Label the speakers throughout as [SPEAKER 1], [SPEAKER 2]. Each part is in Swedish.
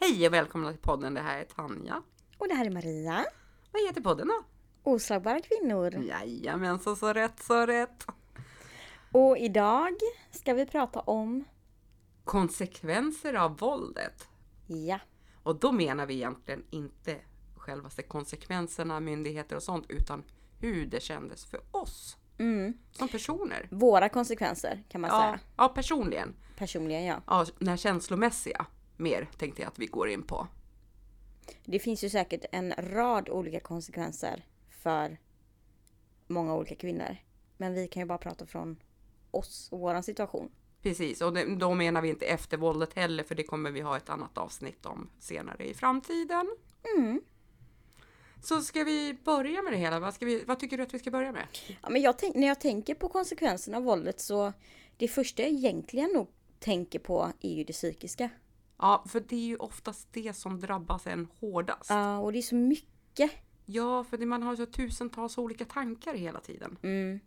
[SPEAKER 1] Hej och välkomna till podden. Det här är Tanja.
[SPEAKER 2] Och det här är Maria.
[SPEAKER 1] Vad heter podden då?
[SPEAKER 2] Oslagbara kvinnor.
[SPEAKER 1] Jajamensan, så rätt, så rätt.
[SPEAKER 2] Och idag ska vi prata om...
[SPEAKER 1] Konsekvenser av våldet.
[SPEAKER 2] Ja.
[SPEAKER 1] Och då menar vi egentligen inte själva konsekvenserna, myndigheter och sånt, utan hur det kändes för oss
[SPEAKER 2] Mm.
[SPEAKER 1] som personer.
[SPEAKER 2] Våra konsekvenser kan man
[SPEAKER 1] Ja,
[SPEAKER 2] säga.
[SPEAKER 1] ja personligen.
[SPEAKER 2] Personligen ja.
[SPEAKER 1] Ja, den här känslomässiga mer tänkte jag att vi går in på.
[SPEAKER 2] Det finns ju säkert en rad olika konsekvenser för många olika kvinnor. Men vi kan ju bara prata från oss och våran situation.
[SPEAKER 1] Precis, och det- då menar vi inte efter våldet heller, för det kommer vi ha ett annat avsnitt om senare i framtiden.
[SPEAKER 2] Mm.
[SPEAKER 1] Så ska vi börja med det hela? Vad, ska vi, vad tycker du att vi ska börja med?
[SPEAKER 2] Ja, men jag tänk, när jag tänker på konsekvenserna av våldet så det första jag egentligen nog tänker på är ju det psykiska.
[SPEAKER 1] Ja, för det är ju oftast det som drabbas en hårdast.
[SPEAKER 2] Ja, och det är så mycket.
[SPEAKER 1] Ja, för det, man har så tusentals olika tankar hela tiden.
[SPEAKER 2] Mm.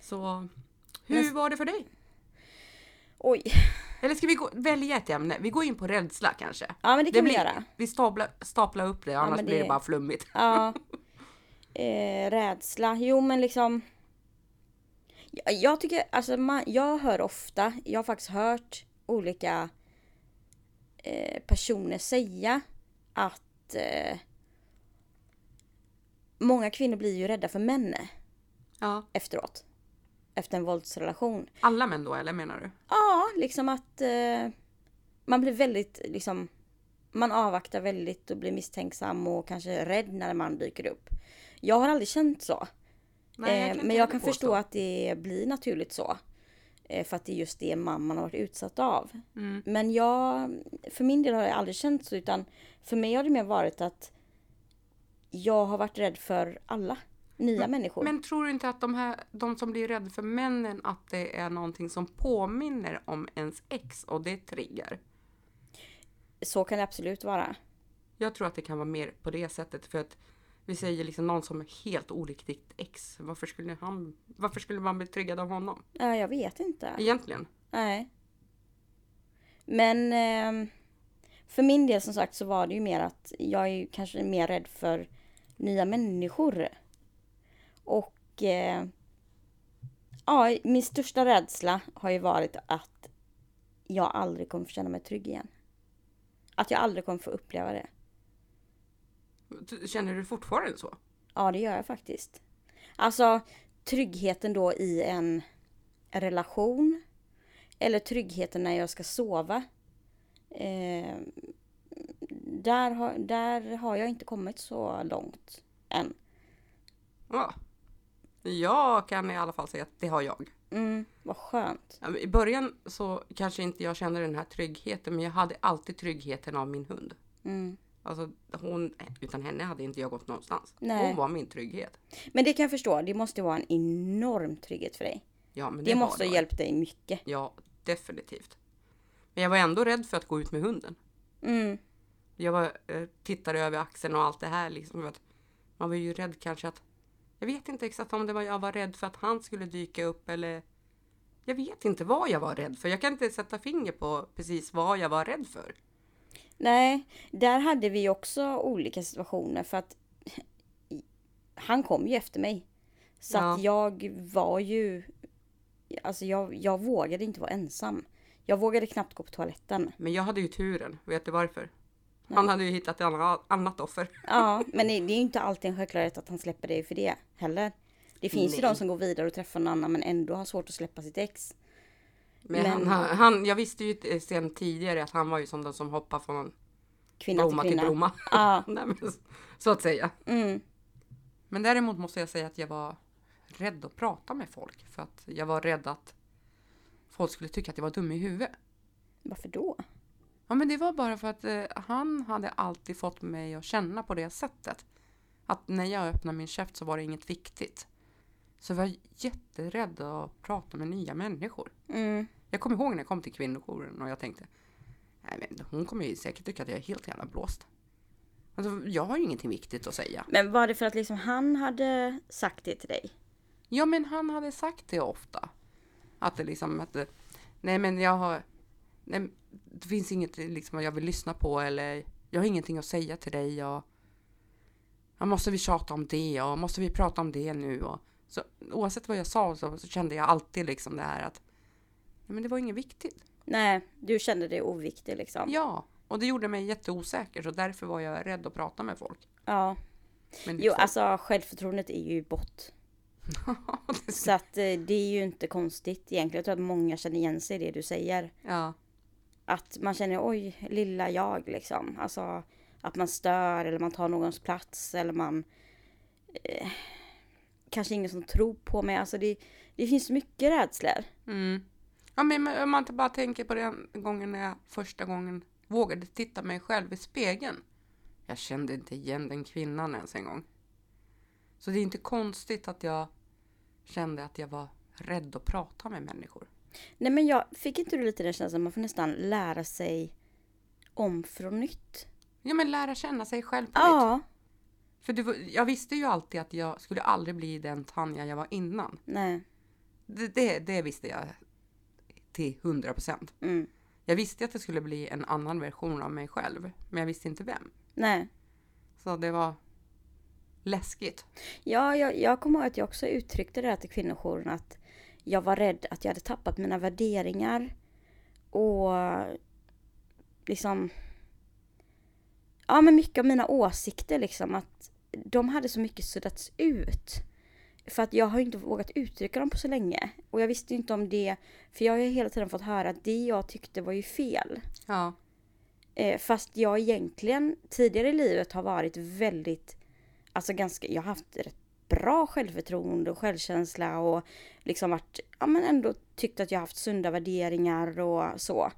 [SPEAKER 1] Så hur var det för dig?
[SPEAKER 2] Oj.
[SPEAKER 1] Eller ska vi gå, välja ett ämne? Vi går in på rädsla kanske?
[SPEAKER 2] Ja, men det kan vi
[SPEAKER 1] blir,
[SPEAKER 2] göra.
[SPEAKER 1] Vi staplar, staplar upp det, annars
[SPEAKER 2] men
[SPEAKER 1] blir det
[SPEAKER 2] det-
[SPEAKER 1] bara flummigt.
[SPEAKER 2] Ja. Eh, rädsla. Jo, men liksom. Jag, jag tycker, alltså man, jag hör ofta, jag har faktiskt hört olika eh, personer säga att eh, många kvinnor blir ju rädda för män
[SPEAKER 1] Ja.
[SPEAKER 2] efteråt. Efter en våldsrelation.
[SPEAKER 1] Alla män då, eller menar du?
[SPEAKER 2] Ja, liksom att eh, man blir väldigt, liksom, man avvaktar väldigt och blir misstänksam och kanske rädd när en man dyker upp. Jag har aldrig känt så.
[SPEAKER 1] jag kan
[SPEAKER 2] eh, men
[SPEAKER 1] inte
[SPEAKER 2] jag
[SPEAKER 1] heller
[SPEAKER 2] kan
[SPEAKER 1] påstå.
[SPEAKER 2] förstå att det blir naturligt så. Eh, för att det är just det mamman har varit utsatt av.
[SPEAKER 1] Mm.
[SPEAKER 2] Men jag, för min del har jag aldrig känt så utan för mig har det mer varit att jag har varit rädd för alla nya människor.
[SPEAKER 1] Mm. Men tror du inte att de, här, de som blir rädda för männen, att det är någonting som påminner om ens ex och det triggar?
[SPEAKER 2] Så kan det absolut vara.
[SPEAKER 1] Jag tror att det kan vara mer på det sättet för att vi säger liksom någon som är helt olik ditt ex. Varför skulle, han, varför skulle man bli triggad av honom?
[SPEAKER 2] Ja, jag vet inte.
[SPEAKER 1] Egentligen.
[SPEAKER 2] Nej. Men ehm, för min del som sagt så var det ju mer att jag är ju kanske mer rädd för nya människor. Och eh, ja, min största rädsla har ju varit att jag aldrig kommer få känna mig trygg igen. Att jag aldrig kommer få uppleva det.
[SPEAKER 1] T- Känner du fortfarande så?
[SPEAKER 2] Ja, det gör jag faktiskt. Alltså tryggheten då i en relation. Eller tryggheten när jag ska sova. Eh, där, har, där har jag inte kommit så långt än.
[SPEAKER 1] Ja. Jag kan i alla fall säga att det har jag.
[SPEAKER 2] Mm, vad skönt.
[SPEAKER 1] Ja, men I början så kanske inte jag kände den här tryggheten, men jag hade alltid tryggheten av min hund.
[SPEAKER 2] Mm.
[SPEAKER 1] Alltså hon, utan henne hade inte jag gått någonstans.
[SPEAKER 2] Nej.
[SPEAKER 1] Hon var min trygghet.
[SPEAKER 2] Men det kan jag förstå. Det måste vara en enorm trygghet för dig.
[SPEAKER 1] Ja, men det,
[SPEAKER 2] Det,
[SPEAKER 1] har
[SPEAKER 2] måste
[SPEAKER 1] det
[SPEAKER 2] ha
[SPEAKER 1] varit.
[SPEAKER 2] hjälpt dig mycket.
[SPEAKER 1] Ja, definitivt. Men jag var ändå rädd för att gå ut med hunden.
[SPEAKER 2] Mm,
[SPEAKER 1] Jag var, eh, tittade över axeln och allt det här. Liksom, för att man var ju rädd kanske att... Jag vet inte exakt om det var jag var rädd för att han skulle dyka upp eller... Jag vet inte vad jag var rädd för. Jag kan inte sätta finger på precis vad jag var rädd för.
[SPEAKER 2] Nej, där hade vi också olika situationer för att han kom ju efter mig. Så att jag var ju, alltså jag, jag vågade inte vara ensam. Jag vågade knappt gå på toaletten.
[SPEAKER 1] Men jag hade ju turen. Vet du varför? Han hade ju hittat ett anna- annat offer.
[SPEAKER 2] Ja, men det det är ju inte alltid en självklarhet att han släpper dig för det heller. Det finns ju
[SPEAKER 1] Nej.
[SPEAKER 2] de som går vidare och träffar någon annan men ändå har svårt att släppa sitt ex.
[SPEAKER 1] Men,
[SPEAKER 2] Men-
[SPEAKER 1] Han, han, han, jag visste ju eh, sen tidigare att han var ju som den som hoppar från
[SPEAKER 2] Kvinna
[SPEAKER 1] Bromma
[SPEAKER 2] till
[SPEAKER 1] till
[SPEAKER 2] kvinna.
[SPEAKER 1] Bromma.
[SPEAKER 2] Ja,
[SPEAKER 1] Nej, men, så att säga.
[SPEAKER 2] mm,
[SPEAKER 1] Men däremot måste jag säga att jag var rädd att prata med folk. För att jag var rädd att folk skulle tycka att jag var dum i huvudet.
[SPEAKER 2] varför då?
[SPEAKER 1] Ja men det var bara för att eh, han hade alltid fått mig att känna på det sättet. Att när jag öppnade min käft så var det inget viktigt. Så jag var jätterädd att prata med nya människor.
[SPEAKER 2] Mm,
[SPEAKER 1] Jag kommer ihåg när jag kom till kvinnojouren och jag tänkte Nej men hon kommer ju säkert tycka att jag är helt jävla blåst. Alltså, jag har ju ingenting viktigt att säga.
[SPEAKER 2] Men var det för att liksom han hade sagt det till dig?
[SPEAKER 1] Ja, men han hade sagt det ofta. Att det liksom att det, nej men jag har, nej, det finns inget liksom, jag vill lyssna på eller jag har ingenting att säga till dig. Och, ja, måste vi tjata om det och måste vi prata om det nu? Och, så, oavsett vad jag sa så, så kände jag alltid liksom det här att nej, men det var inget viktigt.
[SPEAKER 2] Nej, du kände dig oviktig liksom.
[SPEAKER 1] Ja, och det gjorde mig jätteosäker så därför var jag rädd att prata med folk.
[SPEAKER 2] Ja.
[SPEAKER 1] Men
[SPEAKER 2] Jo,
[SPEAKER 1] liksom,
[SPEAKER 2] alltså självförtroendet är ju i bott. Så att eh, det är ju inte konstigt egentligen. Jag tror att många känner igen sig i det du säger.
[SPEAKER 1] ja,
[SPEAKER 2] Att man känner oj, lilla jag liksom. Alltså att man stör eller man tar någons plats eller man... Eh, kanske ingen som tror på mig. Alltså det, det finns mycket rädslor.
[SPEAKER 1] mm. ja, men men om man inte bara tänker på den gången när jag första gången vågade titta mig själv i spegeln. Jag kände inte igen den kvinnan ens en gång. Så det är inte konstigt att jag kände att jag var rädd att prata med människor.
[SPEAKER 2] Nej men jag fick inte du lite den känslan att man får nästan lära sig om från nytt?
[SPEAKER 1] Ja, men lära känna sig själv på nytt.
[SPEAKER 2] Ja.
[SPEAKER 1] För det var, jag visste ju alltid att jag skulle aldrig bli den Tanja jag var innan.
[SPEAKER 2] Nej.
[SPEAKER 1] Det, det, det visste jag till 100 procent.
[SPEAKER 2] Mm.
[SPEAKER 1] Jag visste att det skulle bli en annan version av mig själv, men jag visste inte vem.
[SPEAKER 2] Nej.
[SPEAKER 1] Så det var läskigt.
[SPEAKER 2] Ja, jag, jag kommer ihåg att jag också uttryckte det här till kvinnojouren att jag var rädd att jag hade tappat mina värderingar och liksom ja men mycket av mina åsikter liksom att de hade så mycket suddats ut. För att jag har ju inte vågat uttrycka dem på så länge. Och jag visste ju inte om det, för jag har ju hela tiden fått höra att det jag tyckte var ju fel.
[SPEAKER 1] Ja,
[SPEAKER 2] Eh, fast jag egentligen tidigare i livet har varit väldigt, alltså ganska, jag har haft rätt bra självförtroende och självkänsla och liksom varit, ja men ändå tyckt att jag haft sunda värderingar och så.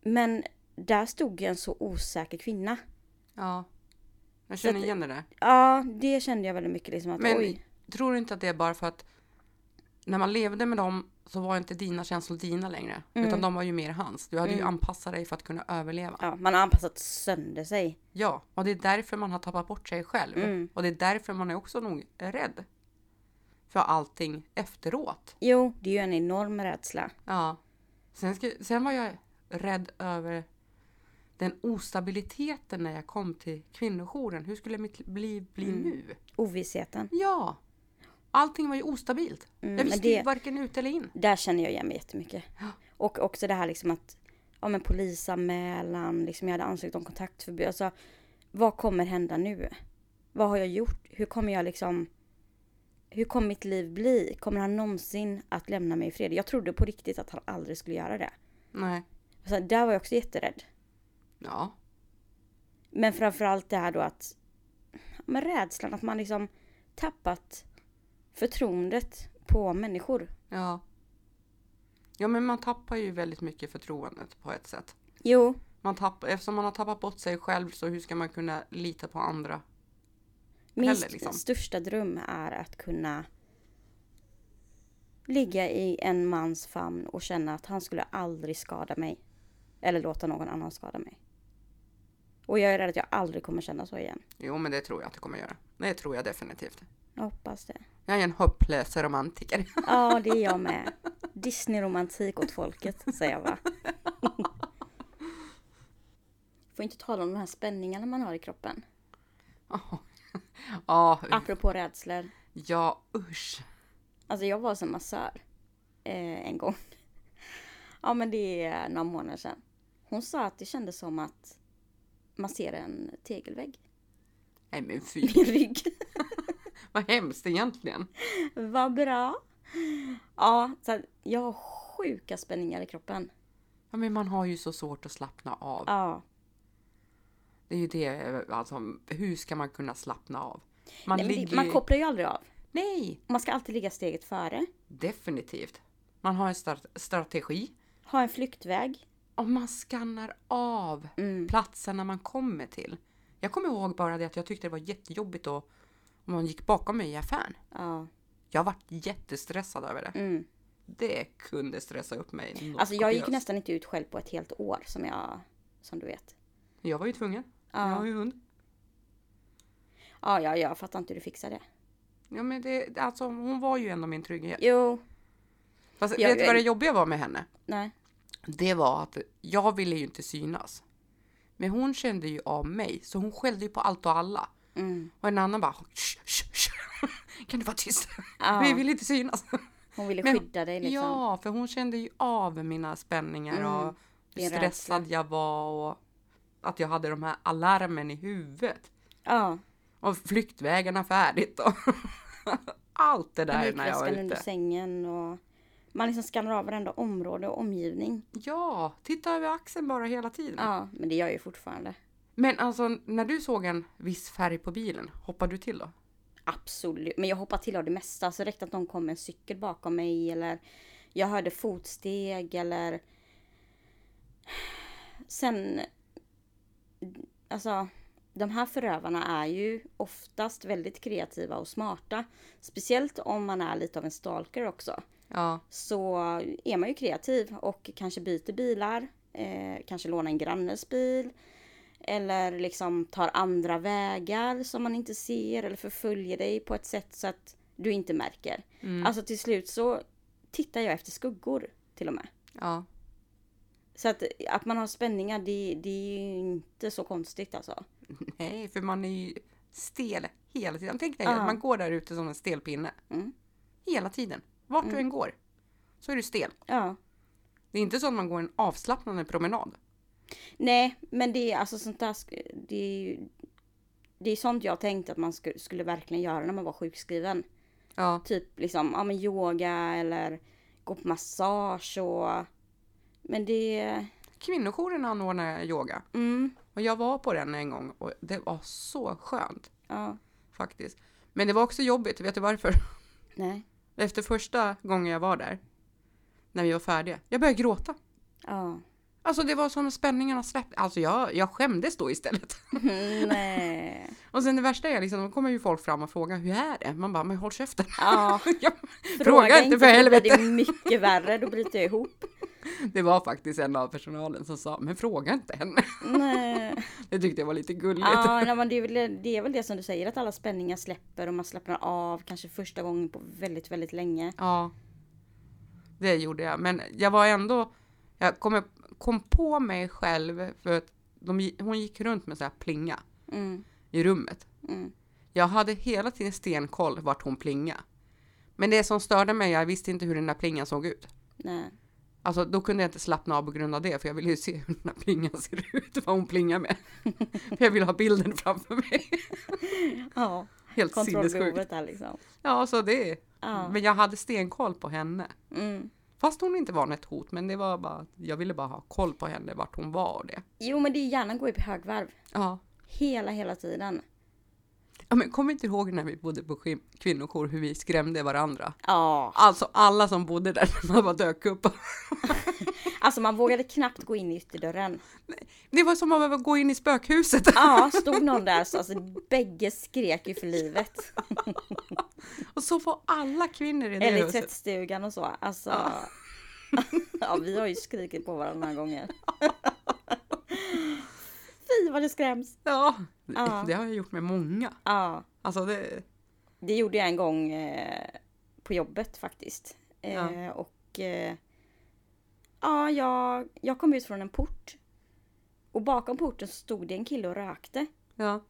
[SPEAKER 2] Men där stod ju en så osäker kvinna.
[SPEAKER 1] ja. Jag
[SPEAKER 2] Så
[SPEAKER 1] känner
[SPEAKER 2] att-
[SPEAKER 1] igen det där.
[SPEAKER 2] Ja, det kände jag väldigt mycket liksom att
[SPEAKER 1] Men
[SPEAKER 2] oj.
[SPEAKER 1] tror du inte att det är bara för att när man levde med dem så var inte dina känslor dina längre.
[SPEAKER 2] Mm.
[SPEAKER 1] Utan de var ju mer hans. Du hade ju
[SPEAKER 2] Mm.
[SPEAKER 1] anpassat dig för att kunna överleva.
[SPEAKER 2] Ja, man har anpassat sönder sig.
[SPEAKER 1] Ja, och det är därför man har tappat bort sig själv.
[SPEAKER 2] Mm.
[SPEAKER 1] Och det är därför man är också nog rädd. För allting efteråt.
[SPEAKER 2] Jo, det är ju en enorm rädsla.
[SPEAKER 1] Ja. Sen, ska, sen var jag rädd över den ostabiliteten när jag kom till kvinnojouren. Hur skulle mitt liv bli
[SPEAKER 2] Mm.
[SPEAKER 1] nu?
[SPEAKER 2] Ovissheten.
[SPEAKER 1] Ja. Allting var ju ostabilt.
[SPEAKER 2] Mm,
[SPEAKER 1] jag
[SPEAKER 2] men
[SPEAKER 1] visste
[SPEAKER 2] det-
[SPEAKER 1] ju varken ut eller in.
[SPEAKER 2] Där känner jag igen mig jättemycket. Och också det här liksom att, ja men polisanmälan, liksom jag hade ansökt om kontaktförbud. Alltså, vad kommer hända nu? Vad har jag gjort? Hur kommer jag liksom, hur kommer mitt liv bli? Kommer han någonsin att lämna mig i fred? Jag trodde på riktigt att han aldrig skulle göra det.
[SPEAKER 1] Nej.
[SPEAKER 2] Så där var jag också jätterädd.
[SPEAKER 1] Ja.
[SPEAKER 2] Men framförallt det här då att, ja, men rädslan att man liksom tappat förtroendet på människor.
[SPEAKER 1] Ja. Ja, men man tappar ju väldigt mycket förtroendet på ett sätt.
[SPEAKER 2] Jo,
[SPEAKER 1] Man tappar, eftersom man har tappat bort sig själv så hur ska man kunna lita på andra?
[SPEAKER 2] Min
[SPEAKER 1] heller,
[SPEAKER 2] st-
[SPEAKER 1] liksom.
[SPEAKER 2] största dröm är att kunna ligga i en mans famn och känna att han skulle aldrig skada mig. Eller låta någon annan skada mig. Och jag är rädd att jag aldrig kommer känna så igen.
[SPEAKER 1] Jo, men det tror jag att det kommer göra. Det tror jag definitivt.
[SPEAKER 2] Jag hoppas det.
[SPEAKER 1] Jag är en hopplös romantiker.
[SPEAKER 2] Ja, det är jag med. Disney-romantik åt folket, säger jag bara. Får inte tala om de här spänningarna man har i kroppen.
[SPEAKER 1] Ja,
[SPEAKER 2] Apropå rädslor.
[SPEAKER 1] ja usch.
[SPEAKER 2] Alltså jag var som massör eh, en gång. ja men det är några månader sedan. Hon sa att det kändes som att massera en tegelvägg
[SPEAKER 1] Nej men fy,
[SPEAKER 2] i min rygg.
[SPEAKER 1] vad hemskt egentligen.
[SPEAKER 2] Vad bra! Ja, så att jag har sjuka spänningar i kroppen.
[SPEAKER 1] Ja, men man har ju så svårt att slappna av.
[SPEAKER 2] Ja,
[SPEAKER 1] Det är ju det, alltså hur ska man kunna slappna av? Man
[SPEAKER 2] Nej, men
[SPEAKER 1] ligger
[SPEAKER 2] det, man
[SPEAKER 1] ju-
[SPEAKER 2] kopplar ju aldrig av.
[SPEAKER 1] Nej,
[SPEAKER 2] Man ska alltid ligga steget före.
[SPEAKER 1] definitivt. Man har en stra- strategi
[SPEAKER 2] Ha en flyktväg.
[SPEAKER 1] och man skannar av
[SPEAKER 2] Mm.
[SPEAKER 1] platserna man kommer till. Jag kommer ihåg bara det att jag tyckte det var jättejobbigt då om man gick bakom mig i affären.
[SPEAKER 2] Ja.
[SPEAKER 1] Jag varit jättestressad över det.
[SPEAKER 2] Mm.
[SPEAKER 1] Det kunde stressa upp mig. något
[SPEAKER 2] Alltså jag gick
[SPEAKER 1] kopiöst.
[SPEAKER 2] nästan inte ut själv på ett helt år som jag, som du vet.
[SPEAKER 1] Jag var ju tvungen.
[SPEAKER 2] Ja.
[SPEAKER 1] Jag har ju hund.
[SPEAKER 2] Ja, ja, jag fattar inte hur du fixar det.
[SPEAKER 1] Ja, men det, alltså, hon var ju ändå min trygghet.
[SPEAKER 2] Jo,
[SPEAKER 1] Fast,
[SPEAKER 2] Jag-
[SPEAKER 1] vet du vad det jobbiga var med henne?
[SPEAKER 2] nej.
[SPEAKER 1] det var att jag ville ju inte synas. Men hon kände ju av mig, så hon skällde ju på allt och alla.
[SPEAKER 2] Mm.
[SPEAKER 1] Och en annan bara "Shh, shh, shh. Kan du vara tyst?
[SPEAKER 2] Ja.
[SPEAKER 1] Vi vill inte synas.
[SPEAKER 2] Hon ville
[SPEAKER 1] Men-
[SPEAKER 2] skydda dig liksom. Mm,
[SPEAKER 1] Ja, för hon kände ju av mina spänningar och hur
[SPEAKER 2] Din
[SPEAKER 1] stressad jag var och att jag hade de här alarmen i huvudet.
[SPEAKER 2] Ja,
[SPEAKER 1] Och flyktvägarna färdigt och allt det där när jag var
[SPEAKER 2] panikväskan under
[SPEAKER 1] ute.
[SPEAKER 2] sängen och man liksom skannar av varenda område och omgivning.
[SPEAKER 1] Ja, titta över axeln bara hela tiden.
[SPEAKER 2] Ja, men det gör jag ju fortfarande.
[SPEAKER 1] Men alltså när du såg en viss färg på bilen, hoppade du till då?
[SPEAKER 2] Absolut, men jag hoppar till av det mesta. Så det räckte att någon kom med en cykel bakom mig eller jag hörde fotsteg eller... Sen... Alltså, de här förövarna är ju oftast väldigt kreativa och smarta. Speciellt om man är lite av en stalker också.
[SPEAKER 1] Ja,
[SPEAKER 2] Så är man ju kreativ och kanske byter bilar. Eh, kanske lånar en grannes bil. Eller liksom tar andra vägar som man inte ser eller förföljer dig på ett sätt så att du inte märker.
[SPEAKER 1] Mm,
[SPEAKER 2] Alltså till slut så tittar jag efter skuggor till och med.
[SPEAKER 1] ja.
[SPEAKER 2] Så att, att man har spänningar det, det är ju inte så konstigt alltså.
[SPEAKER 1] Nej, för man är ju stel hela tiden. Tänk dig
[SPEAKER 2] Ja.
[SPEAKER 1] att man går där ute som en stel pinne.
[SPEAKER 2] Mm.
[SPEAKER 1] Hela tiden. Vart du än går så är du stel.
[SPEAKER 2] Ja.
[SPEAKER 1] Det är inte så att man går en avslappnande promenad.
[SPEAKER 2] Nej, men det är alltså sånt där. sk- Det är ju det är sånt jag tänkte att man sku- skulle verkligen göra när man var sjukskriven.
[SPEAKER 1] Ja,
[SPEAKER 2] typ liksom, ja men yoga eller gå på massage och... Men det...
[SPEAKER 1] kvinnojouren anordnar yoga
[SPEAKER 2] Mm,
[SPEAKER 1] och jag var på den en gång och det var så skönt
[SPEAKER 2] ja.
[SPEAKER 1] faktiskt. Men det var också jobbigt, vet du varför?
[SPEAKER 2] Nej.
[SPEAKER 1] Efter första gången jag var där, när vi var färdiga, jag började gråta.
[SPEAKER 2] Ja.
[SPEAKER 1] Alltså det var som spänningarna släppte. Alltså jag, jag skämdes då istället.
[SPEAKER 2] Nej.
[SPEAKER 1] Och sen det värsta är liksom, då kommer ju folk fram och frågar hur är det? Man bara, men håll käften.
[SPEAKER 2] Ja.
[SPEAKER 1] Jag- Fråga inte för
[SPEAKER 2] Det
[SPEAKER 1] helvete.
[SPEAKER 2] är mycket värre, då bryter jag ihop.
[SPEAKER 1] Det var faktiskt en av personalen som sa, men fråga inte henne.
[SPEAKER 2] Nej.
[SPEAKER 1] Det tyckte jag var lite gulligt.
[SPEAKER 2] Ja, nej, men det, är väl, det är väl det som du säger, att alla spänningar släpper och man slappnar av kanske första gången på väldigt, väldigt länge.
[SPEAKER 1] Ja, det gjorde jag. Men jag var ändå, jag kom, kom på mig själv för att de, gi- hon gick runt med så här plinga
[SPEAKER 2] Mm,
[SPEAKER 1] i rummet.
[SPEAKER 2] mm.
[SPEAKER 1] Jag hade hela tiden stenkoll vart hon plinga. Men det som störde mig, jag visste inte hur den där plingan såg ut.
[SPEAKER 2] Nej.
[SPEAKER 1] Alltså då kunde jag inte slappna av på grund av det, för jag ville ju se hur den där plingan ser ut, vad hon plingar med. för jag ville ha bilden framför mig.
[SPEAKER 2] Ja,
[SPEAKER 1] Helt sinnessjukt.
[SPEAKER 2] kontrollbehovet där liksom.
[SPEAKER 1] Ja, så det.
[SPEAKER 2] Ja.
[SPEAKER 1] Men jag hade stenkoll på henne.
[SPEAKER 2] Mm.
[SPEAKER 1] Fast hon inte var något hot, men det var bara, jag ville bara ha koll på henne, vart hon var och det.
[SPEAKER 2] Jo, men det är hjärnan går ju på högvarv.
[SPEAKER 1] Ja.
[SPEAKER 2] Hela, hela tiden.
[SPEAKER 1] ja men kommer inte ihåg när vi bodde på skim- kvinnokor hur vi skrämde varandra?
[SPEAKER 2] Ja.
[SPEAKER 1] Alltså alla som bodde där, man bara dök upp.
[SPEAKER 2] Alltså man vågade knappt gå in i ytterdörren.
[SPEAKER 1] Det var som att behöva gå in i spökhuset.
[SPEAKER 2] Ja, stod någon där så alltså bägge skrek ju för livet.
[SPEAKER 1] Och så var alla kvinnor i det
[SPEAKER 2] Eller i
[SPEAKER 1] huset.
[SPEAKER 2] tvättstugan och så. Alltså. Ja.
[SPEAKER 1] Ja.
[SPEAKER 2] vi har ju skrikit på varandra några gånger. Fy vad det skräms.
[SPEAKER 1] Ja.
[SPEAKER 2] Ja.
[SPEAKER 1] det har jag gjort med många.
[SPEAKER 2] Ja,
[SPEAKER 1] Alltså det,
[SPEAKER 2] det gjorde jag en gång eh, på jobbet faktiskt. Eh, Och eh, ja, jag, jag kom ut från en port. Och bakom porten stod det en kille och rökte.
[SPEAKER 1] ja.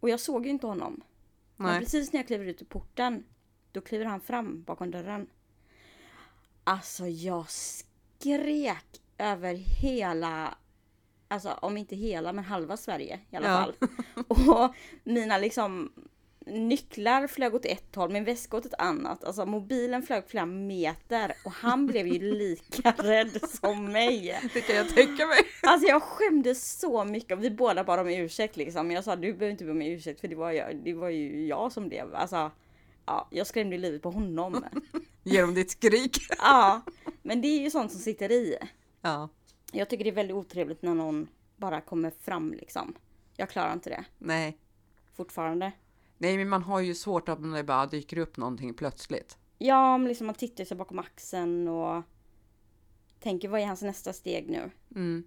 [SPEAKER 2] Och jag såg ju inte honom. Men
[SPEAKER 1] Nej.
[SPEAKER 2] precis när jag kliver ut ur porten, då kliver han fram bakom dörren. Alltså jag skrek över hela, alltså om inte hela men halva Sverige i alla
[SPEAKER 1] Ja.
[SPEAKER 2] fall. Och mina liksom nycklar flög åt ett håll, min väska åt ett annat. Alltså mobilen flög flera meter och han blev ju lika rädd som mig.
[SPEAKER 1] Det kan jag tänka mig.
[SPEAKER 2] Alltså jag skämdes så mycket och vi båda bad om ursäkt liksom. Jag sa du behöver inte be om ursäkt för det var, jag, det var ju jag som blev. Alltså, ja, jag skrämde livet på honom.
[SPEAKER 1] Genom ditt skrik.
[SPEAKER 2] ja, men det är ju sånt som sitter i.
[SPEAKER 1] Ja.
[SPEAKER 2] Jag tycker det är väldigt otrevligt när någon bara kommer fram liksom. Jag klarar inte det
[SPEAKER 1] Nej.
[SPEAKER 2] fortfarande. det
[SPEAKER 1] Nej, men man har ju svårt att det bara dyker upp någonting plötsligt.
[SPEAKER 2] Ja, men liksom man tittar sig bakom axeln och tänker vad är hans nästa steg nu?
[SPEAKER 1] Mm.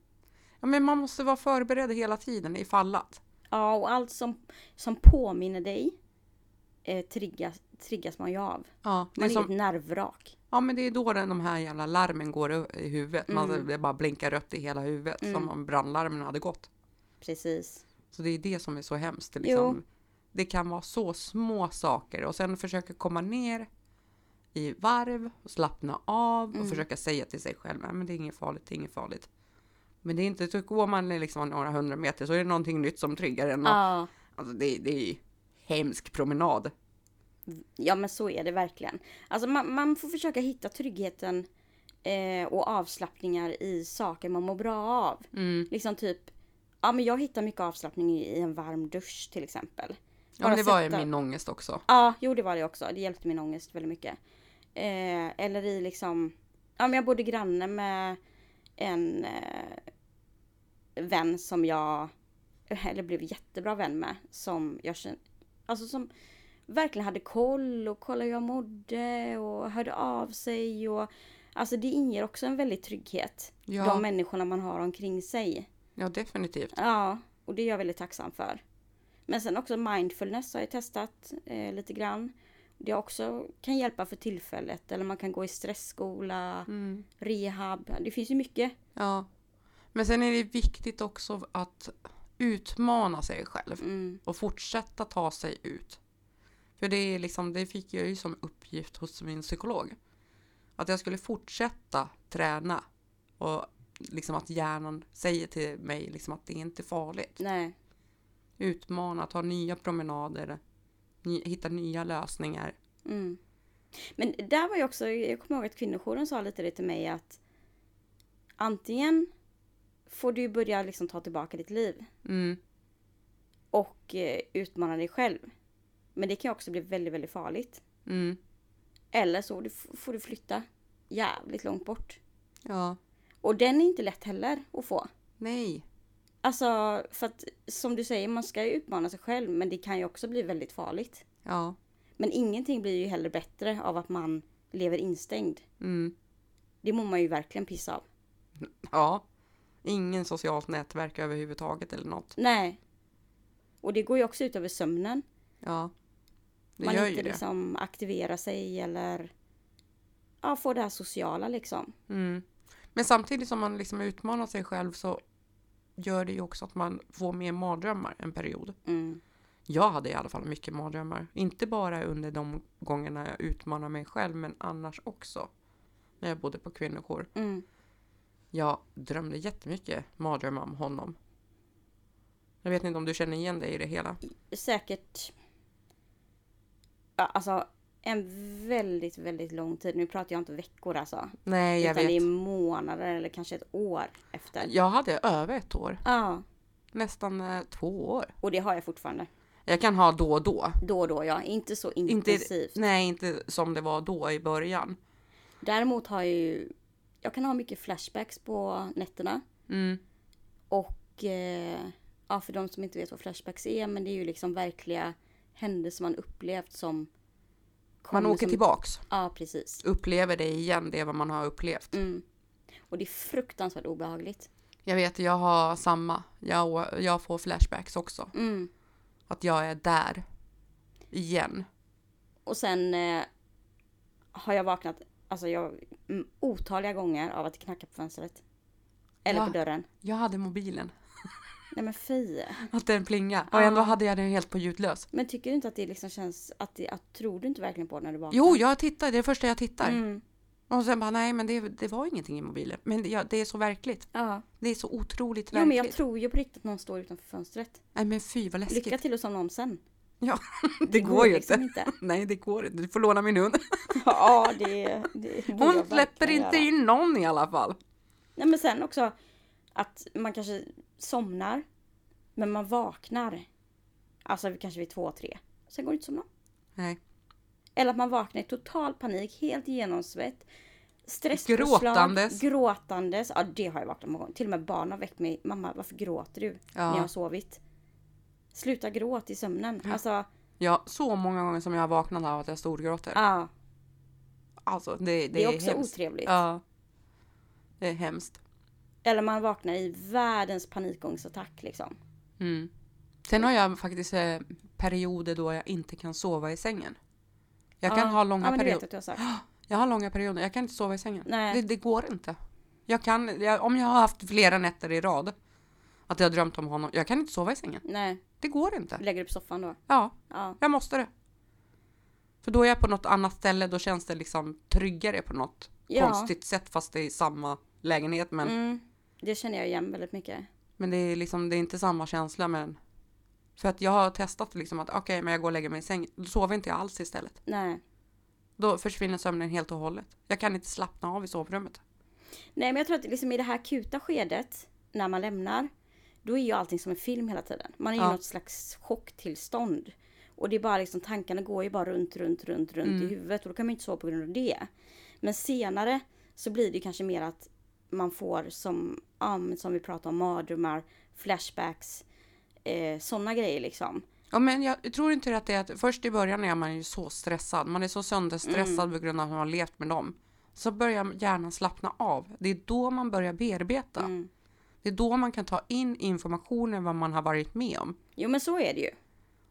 [SPEAKER 1] Ja, men man måste vara förberedd hela tiden ifall att.
[SPEAKER 2] Ja, och allt som, som påminner dig eh, triggas, triggas man ju av.
[SPEAKER 1] Ja, det
[SPEAKER 2] Man
[SPEAKER 1] är
[SPEAKER 2] är ju ett
[SPEAKER 1] som,
[SPEAKER 2] nervvrak.
[SPEAKER 1] Ja men det är då den, de här jävla larmen går i- i huvudet. Man,
[SPEAKER 2] Mm.
[SPEAKER 1] Det bara blinkar rött i hela huvudet som om brandlarmen hade gått.
[SPEAKER 2] Precis.
[SPEAKER 1] Så det är det som är så hemskt. det Liksom.
[SPEAKER 2] Jo.
[SPEAKER 1] Det kan vara så små saker och sen försöka komma ner i varv och slappna av
[SPEAKER 2] Mm.
[SPEAKER 1] och försöka säga till sig själv "Nej, men det är inget farligt, det är inget farligt. Men det är inte, så går man liksom några hundra meter så är det någonting nytt som triggar en. och-
[SPEAKER 2] Ja.
[SPEAKER 1] Alltså det, det är ju hemsk promenad.
[SPEAKER 2] ja, men så är det verkligen. Alltså man, man får försöka hitta tryggheten eh, och avslappningar i saker man mår bra av.
[SPEAKER 1] Mm.
[SPEAKER 2] Liksom typ, ja men jag hittar mycket avslappning i, i en varm dusch till exempel.
[SPEAKER 1] Ja, men det var ju
[SPEAKER 2] sätta-
[SPEAKER 1] min ångest också.
[SPEAKER 2] Ja, jo det var det också. Det hjälpte min ångest väldigt mycket. Eh, eller i liksom, ja men jag bodde granne med en eh, vän som jag, eller blev jättebra vän med, som jag kände, alltså som verkligen hade koll och kollade hur jag mådde och hörde av sig och Alltså det inger också en väldigt trygghet.
[SPEAKER 1] Ja.
[SPEAKER 2] De människorna man har omkring sig.
[SPEAKER 1] Ja, definitivt.
[SPEAKER 2] Ja, och det är jag väldigt tacksam för. Men sen också mindfulness har jag testat eh, lite grann. Det också kan hjälpa för tillfället. Eller man kan gå i stressskola, rehab. Det finns ju mycket.
[SPEAKER 1] Ja. Men sen är det viktigt också att utmana sig själv
[SPEAKER 2] Mm,
[SPEAKER 1] och fortsätta ta sig ut. För det är liksom, det fick jag ju som uppgift hos min psykolog. Att jag skulle fortsätta träna och liksom att hjärnan säger till mig liksom att det är inte farligt.
[SPEAKER 2] nej,
[SPEAKER 1] Utmana, ta nya promenader, ny, hitta nya lösningar.
[SPEAKER 2] mm. Men där var ju också, jag kommer ihåg att kvinnojouren sa lite det till mig att antingen får du börja liksom ta tillbaka ditt liv
[SPEAKER 1] Mm.
[SPEAKER 2] och eh, utmana dig själv. Men det kan ju också bli väldigt, väldigt farligt.
[SPEAKER 1] Mm.
[SPEAKER 2] Eller så du- får du flytta jävligt långt bort.
[SPEAKER 1] Ja.
[SPEAKER 2] Och den är inte lätt heller att få.
[SPEAKER 1] Nej.
[SPEAKER 2] Alltså för att som du säger, man ska ju utmana sig själv men det kan ju också bli väldigt farligt.
[SPEAKER 1] Ja.
[SPEAKER 2] Men ingenting blir ju heller bättre av att man lever instängd.
[SPEAKER 1] Mm.
[SPEAKER 2] Det mår man ju verkligen piss av.
[SPEAKER 1] Ja. Ingen socialt nätverk överhuvudtaget eller något.
[SPEAKER 2] Nej. Och det går ju också ut över sömnen.
[SPEAKER 1] Ja. Det
[SPEAKER 2] man
[SPEAKER 1] gör
[SPEAKER 2] inte
[SPEAKER 1] ju det.
[SPEAKER 2] liksom aktiverar sig eller ja, får det här sociala liksom.
[SPEAKER 1] Mm. Men samtidigt som man liksom utmanar sig själv så gör det ju också att man får mer mardrömmar en period.
[SPEAKER 2] Mm.
[SPEAKER 1] Jag hade i alla fall mycket mardrömmar. Inte bara under de gångerna jag utmanar mig själv men annars också. När jag bodde på kvinnojour.
[SPEAKER 2] Mm.
[SPEAKER 1] Jag drömde jättemycket mardrömmar om honom. Jag vet inte om du känner igen dig i det hela.
[SPEAKER 2] säkert ja, alltså en väldigt, väldigt lång tid. Nu pratar jag inte veckor alltså.
[SPEAKER 1] Nej, jag
[SPEAKER 2] utan det är
[SPEAKER 1] vet.
[SPEAKER 2] månader eller kanske ett år efter.
[SPEAKER 1] Jag hade över ett år.
[SPEAKER 2] Ja,
[SPEAKER 1] Nästan eh, två år.
[SPEAKER 2] och det har jag fortfarande.
[SPEAKER 1] Jag kan ha då och då.
[SPEAKER 2] Då och då ja, inte så
[SPEAKER 1] Inte,
[SPEAKER 2] intensivt.
[SPEAKER 1] nej, inte som det var då i början.
[SPEAKER 2] Däremot har jag ju, jag kan ha mycket flashbacks på nätterna.
[SPEAKER 1] Mm.
[SPEAKER 2] Och eh, ja, för de som inte vet vad flashbacks är, men det är ju liksom verkliga händelser man upplevt som
[SPEAKER 1] Man
[SPEAKER 2] kommer
[SPEAKER 1] åker
[SPEAKER 2] som-
[SPEAKER 1] tillbaks,
[SPEAKER 2] Ja, precis.
[SPEAKER 1] upplever det igen, det vad man har upplevt.
[SPEAKER 2] Mm. Och det är fruktansvärt obehagligt.
[SPEAKER 1] Jag vet, jag har samma. Jag, jag får flashbacks också.
[SPEAKER 2] Mm.
[SPEAKER 1] Att jag är där. Igen.
[SPEAKER 2] Och sen eh, har jag vaknat alltså jag, mm, otaliga gånger av att det knackar på fönstret. Eller
[SPEAKER 1] Ja.
[SPEAKER 2] på dörren.
[SPEAKER 1] Jag hade mobilen.
[SPEAKER 2] Nej men fy.
[SPEAKER 1] Att den plingade. Och ändå hade jag den helt på ljudlös.
[SPEAKER 2] Men tycker du inte att det liksom känns att, det, att tror du inte verkligen på det när du vaknar?
[SPEAKER 1] Jo, jag tittar. Det är det första jag tittar.
[SPEAKER 2] Mm.
[SPEAKER 1] Och sen bara, nej men det, det var ingenting i mobilen. Men det, ja, det är så verkligt.
[SPEAKER 2] Ja.
[SPEAKER 1] Det är så otroligt
[SPEAKER 2] Jo
[SPEAKER 1] verkligt.
[SPEAKER 2] men jag tror ju på riktigt att någon står utanför fönstret.
[SPEAKER 1] Nej men fy vad läskigt.
[SPEAKER 2] Lycka till att somna om sen.
[SPEAKER 1] Ja, det, går ju
[SPEAKER 2] liksom
[SPEAKER 1] inte. Nej, det går inte. Du får låna min hund.
[SPEAKER 2] ja det, det borde
[SPEAKER 1] Hon
[SPEAKER 2] jag
[SPEAKER 1] släpper
[SPEAKER 2] verkligen
[SPEAKER 1] inte
[SPEAKER 2] göra.
[SPEAKER 1] in någon i alla fall.
[SPEAKER 2] Nej men sen också att man kanske somnar. Men man vaknar. Alltså kanske vid två, tre. Sen går det inte att somna.
[SPEAKER 1] Nej.
[SPEAKER 2] Eller att man vaknar i total panik, helt genomsvett. Stresspåslag,
[SPEAKER 1] Gråtandes.
[SPEAKER 2] Gråtandes. Ja, det har jag vaknat många gånger. Till och med barn har väckt mig. Mamma, varför gråter du när jag har sovit? Sluta gråt i sömnen. Alltså,
[SPEAKER 1] Ja, så många gånger som jag har vaknat av att jag storgråter.
[SPEAKER 2] ja.
[SPEAKER 1] Alltså det, det,
[SPEAKER 2] Det är
[SPEAKER 1] är
[SPEAKER 2] också
[SPEAKER 1] hemskt.
[SPEAKER 2] otrevligt.
[SPEAKER 1] Ja. Det är hemskt.
[SPEAKER 2] Eller man vaknar i världens panikångestattack liksom.
[SPEAKER 1] Mm. Sen har jag faktiskt eh, perioder då jag inte kan sova i sängen. Jag kan
[SPEAKER 2] ja.
[SPEAKER 1] ha
[SPEAKER 2] ja,
[SPEAKER 1] långa
[SPEAKER 2] men det vet jag
[SPEAKER 1] perioder.
[SPEAKER 2] att du har sagt.
[SPEAKER 1] Jag har långa perioder, jag kan inte sova i sängen.
[SPEAKER 2] Nej.
[SPEAKER 1] Det, det går inte. Jag kan, jag, om jag har haft flera nätter i rad att jag har drömt om honom, jag kan inte sova i sängen.
[SPEAKER 2] Nej,
[SPEAKER 1] Det går inte.
[SPEAKER 2] lägger du på soffan då?
[SPEAKER 1] Ja,
[SPEAKER 2] Ja.
[SPEAKER 1] jag måste det. För då är jag på något annat ställe, då känns det liksom tryggare på något
[SPEAKER 2] Ja.
[SPEAKER 1] konstigt sätt fast det är samma lägenhet. Men,
[SPEAKER 2] Mm. Det känner jag igen väldigt mycket.
[SPEAKER 1] men det är liksom, det är inte samma känsla men för att jag har testat liksom att okej, men jag går och lägger mig i sängen. Då sover inte jag alls istället.
[SPEAKER 2] Nej.
[SPEAKER 1] Då försvinner sömnen helt och hållet. Jag kan inte slappna av i sovrummet.
[SPEAKER 2] Nej men jag tror att liksom i det här akuta skedet när man lämnar då är ju allting som en film hela tiden. Man är ju i
[SPEAKER 1] Ja.
[SPEAKER 2] något slags chocktillstånd. Och det är bara liksom tankarna går ju bara runt, runt, runt, runt i huvudet och då kan man ju inte sova på grund av det. Men senare så blir det kanske mer att man får som, ja, men som vi pratade om, mardrömmar, flashbacks, eh, sådana grejer liksom.
[SPEAKER 1] Ja, men jag tror inte det att det är att först i början är man ju så stressad. Man är så
[SPEAKER 2] Mm.
[SPEAKER 1] sönderstressad på grund av att man har levt med dem. Så börjar hjärnan slappna av. Det är då man börjar bearbeta.
[SPEAKER 2] Mm.
[SPEAKER 1] Det är då man kan ta in informationen vad man har varit med om.
[SPEAKER 2] Jo men så är det ju.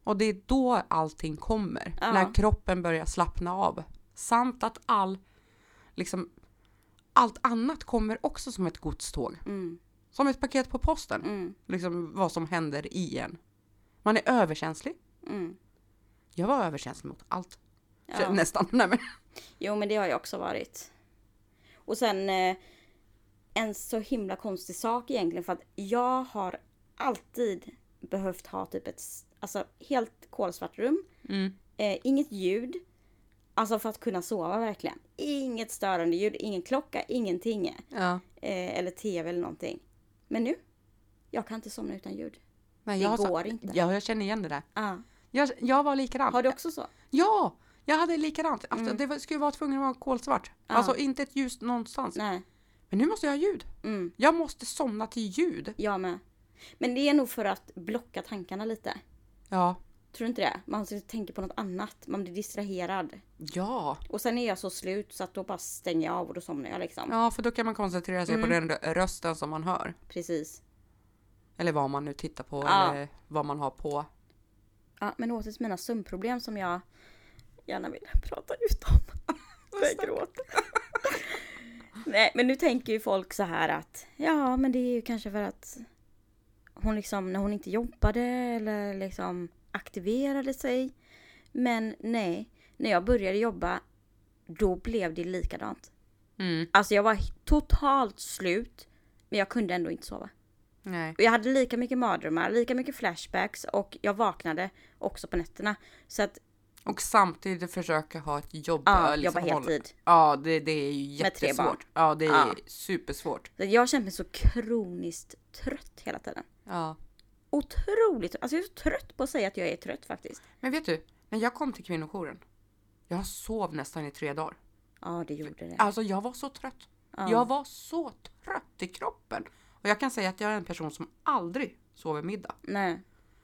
[SPEAKER 1] Och det är då allting kommer.
[SPEAKER 2] Ja.
[SPEAKER 1] När kroppen börjar slappna av. Samt att all, liksom, allt annat kommer också som ett godståg.
[SPEAKER 2] Mm,
[SPEAKER 1] Som ett paket på posten.
[SPEAKER 2] mm,
[SPEAKER 1] Liksom vad som händer i en. Man är överkänslig.
[SPEAKER 2] mm.
[SPEAKER 1] Jag var överkänslig mot allt.
[SPEAKER 2] Ja.
[SPEAKER 1] Nästan. Nej, men.
[SPEAKER 2] Jo men det har jag också varit. Och sen eh, en så himla konstig sak egentligen för att jag har alltid behövt ha typ ett s- alltså, helt kolsvart rum.
[SPEAKER 1] Mm.
[SPEAKER 2] Eh, inget ljud. Alltså för att kunna sova verkligen. Inget störande ljud, ingen klocka, ingenting. Eh,
[SPEAKER 1] Ja.
[SPEAKER 2] eller tv eller någonting. Men nu? Jag kan inte somna utan ljud.
[SPEAKER 1] Nej,
[SPEAKER 2] Det
[SPEAKER 1] jag har så-
[SPEAKER 2] går inte.
[SPEAKER 1] Ja, jag känner igen det där.
[SPEAKER 2] Ah.
[SPEAKER 1] Jag, jag var likadan.
[SPEAKER 2] Har du Mm. också så?
[SPEAKER 1] Ja, jag hade likadant. Alltså, Det var- skulle vara tvungen att vara kolsvart. Alltså inte ett ljus någonstans.
[SPEAKER 2] Nej.
[SPEAKER 1] Men nu måste jag ha ljud.
[SPEAKER 2] Mm.
[SPEAKER 1] Jag måste somna till ljud.
[SPEAKER 2] Jag med. Men det är nog för att blocka tankarna lite.
[SPEAKER 1] Ja.
[SPEAKER 2] Tror du inte det? Man sitter och tänker på något annat. Man blir distraherad.
[SPEAKER 1] Ja.
[SPEAKER 2] Och sen är jag så slut så att då bara stänger jag av och då somnar jag liksom.
[SPEAKER 1] Ja, för då kan man koncentrera sig på
[SPEAKER 2] Mm.
[SPEAKER 1] den rö- rösten som man hör.
[SPEAKER 2] Precis.
[SPEAKER 1] Eller vad man nu tittar på
[SPEAKER 2] Ja.
[SPEAKER 1] eller vad man har på.
[SPEAKER 2] Ja, men åter till mina sömnproblem som jag gärna vill prata ut om. Jag gråter. Nej, men nu tänker ju folk så här att ja, men det är ju kanske för att hon liksom när hon inte jobbade eller liksom aktiverade sig. Men nej, när jag började jobba då blev det likadant.
[SPEAKER 1] Mm.
[SPEAKER 2] Alltså jag var totalt slut. Men jag kunde ändå inte sova.
[SPEAKER 1] Nej.
[SPEAKER 2] Och jag hade lika mycket mardrömmar, lika mycket flashbacks och jag vaknade också på nätterna. Så att,
[SPEAKER 1] Och samtidigt försöka ha ett jobb.
[SPEAKER 2] ja,
[SPEAKER 1] äh, liksom
[SPEAKER 2] jobba
[SPEAKER 1] hålla-
[SPEAKER 2] heltid.
[SPEAKER 1] Ja, det, det är ju
[SPEAKER 2] Med tre barn.
[SPEAKER 1] jättesvårt. Ja, det är
[SPEAKER 2] Ja.
[SPEAKER 1] supersvårt.
[SPEAKER 2] Så att jag kände mig så kroniskt trött hela tiden.
[SPEAKER 1] Ja.
[SPEAKER 2] Otroligt Alltså jag är så trött på att säga att jag är trött faktiskt.
[SPEAKER 1] Men vet du, när jag kom till kvinnojouren. Jag sov nästan i tre dagar.
[SPEAKER 2] Ja, det gjorde det.
[SPEAKER 1] Alltså jag var så trött.
[SPEAKER 2] Ja.
[SPEAKER 1] Jag var så trött i kroppen. Och jag kan säga att jag är en person som aldrig sover middag.
[SPEAKER 2] Nej.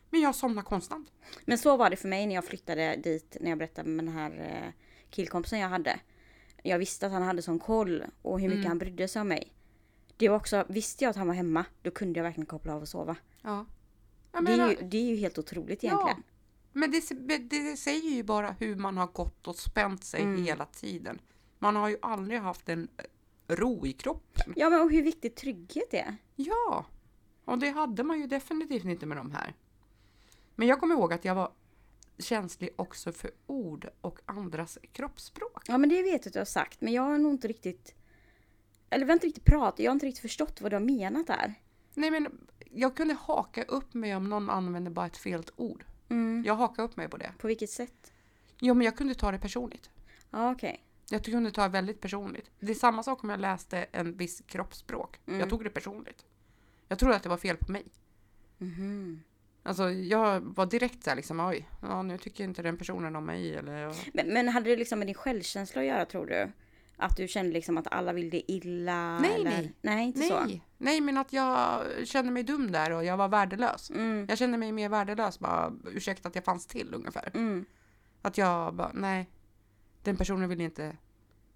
[SPEAKER 1] Men jag somnar konstant.
[SPEAKER 2] Men så var det för mig när jag flyttade dit när jag berättade med den här eh, killkompisen jag hade. Jag visste att han hade sån koll och hur mycket han brydde sig om mig. Det var också, visste jag att han var hemma, då kunde jag verkligen koppla av och sova.
[SPEAKER 1] Ja. Jag
[SPEAKER 2] Det är
[SPEAKER 1] menar,
[SPEAKER 2] ju, det är ju helt otroligt egentligen.
[SPEAKER 1] Men det, det, det säger ju bara hur man har gått och spänt sig hela tiden. Man har ju aldrig haft en eh, ro i kroppen.
[SPEAKER 2] Ja, men och hur viktigt trygghet är.
[SPEAKER 1] Ja, och det hade man ju definitivt inte med de här. Men jag kommer ihåg att jag var känslig också för ord och andras kroppsspråk.
[SPEAKER 2] Ja, men det vet jag att du har sagt, men jag har nog inte riktigt... Eller vi har inte riktigt pratat, jag har inte riktigt förstått vad du har menat där.
[SPEAKER 1] Nej men, jag kunde haka upp mig om någon använde bara ett fel ord.
[SPEAKER 2] Mm.
[SPEAKER 1] Jag hakade upp mig på det.
[SPEAKER 2] På vilket sätt?
[SPEAKER 1] Jo men jag kunde ta det personligt.
[SPEAKER 2] Ja, okej.
[SPEAKER 1] Jag kunde ta det väldigt personligt. Det är samma sak om jag läste en viss kroppsspråk. Jag tog det personligt. Jag trodde att det var fel på mig.
[SPEAKER 2] Mm.
[SPEAKER 1] Alltså jag var direkt såhär liksom, oj, ja, nu tycker inte den personen om mig eller...
[SPEAKER 2] Men, men hade det liksom med din självkänsla att göra, tror du? Att du kände liksom att alla vill dig illa?
[SPEAKER 1] Nej,
[SPEAKER 2] eller?
[SPEAKER 1] nej.
[SPEAKER 2] Nej, inte så.
[SPEAKER 1] Nej, nej men att jag kände mig dum där och jag var värdelös.
[SPEAKER 2] Mm,
[SPEAKER 1] Jag kände mig mer värdelös bara, ursäkta att jag fanns till ungefär.
[SPEAKER 2] mm,
[SPEAKER 1] Att jag bara, nej, den personen vill inte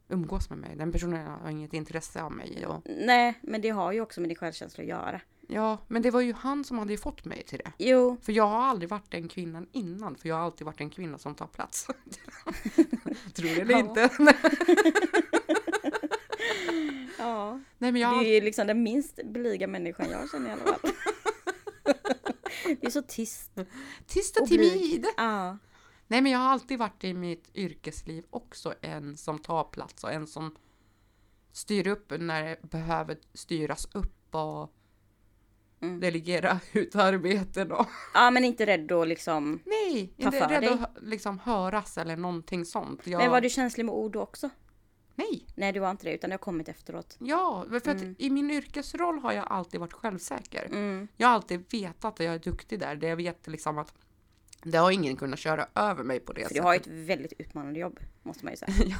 [SPEAKER 1] umgås med mig. Den personen har inget intresse av mig. Och,
[SPEAKER 2] nej, men det har ju också med din självkänsla att göra.
[SPEAKER 1] Ja, men det var ju han som hade ju fått mig till det.
[SPEAKER 2] Jo,
[SPEAKER 1] För jag har aldrig varit den kvinnan innan, för jag har alltid varit en kvinna som tar plats. Tror det eller
[SPEAKER 2] Ja.
[SPEAKER 1] inte.
[SPEAKER 2] ja.
[SPEAKER 1] Nej, men jag har
[SPEAKER 2] Du är ju liksom den minst blyga människan jag känner i alla fall. Det är så tyst.
[SPEAKER 1] Tyst och
[SPEAKER 2] Och blyg.
[SPEAKER 1] timid!
[SPEAKER 2] Ja.
[SPEAKER 1] Nej men jag har alltid varit i mitt yrkesliv också en som tar plats och en som styr upp när det behöver styras upp och
[SPEAKER 2] Mm.
[SPEAKER 1] delegera ut arbeten och
[SPEAKER 2] ja, men inte rädd då liksom.
[SPEAKER 1] Nej,
[SPEAKER 2] Ta
[SPEAKER 1] inte
[SPEAKER 2] för
[SPEAKER 1] rädd
[SPEAKER 2] dig.
[SPEAKER 1] att hö- liksom höras eller någonting sånt. Jag,
[SPEAKER 2] Men var du känslig med ord då också?
[SPEAKER 1] Nej,
[SPEAKER 2] Nej, du var inte det utan det har kommit efteråt.
[SPEAKER 1] ja, för att i min yrkesroll har jag alltid varit självsäker.
[SPEAKER 2] Mm.
[SPEAKER 1] Jag har alltid vetat att jag är duktig där. Det jag vet liksom att det har ingen kunnat köra över mig på det
[SPEAKER 2] För du har ju ett väldigt utmanande jobb, måste man ju säga.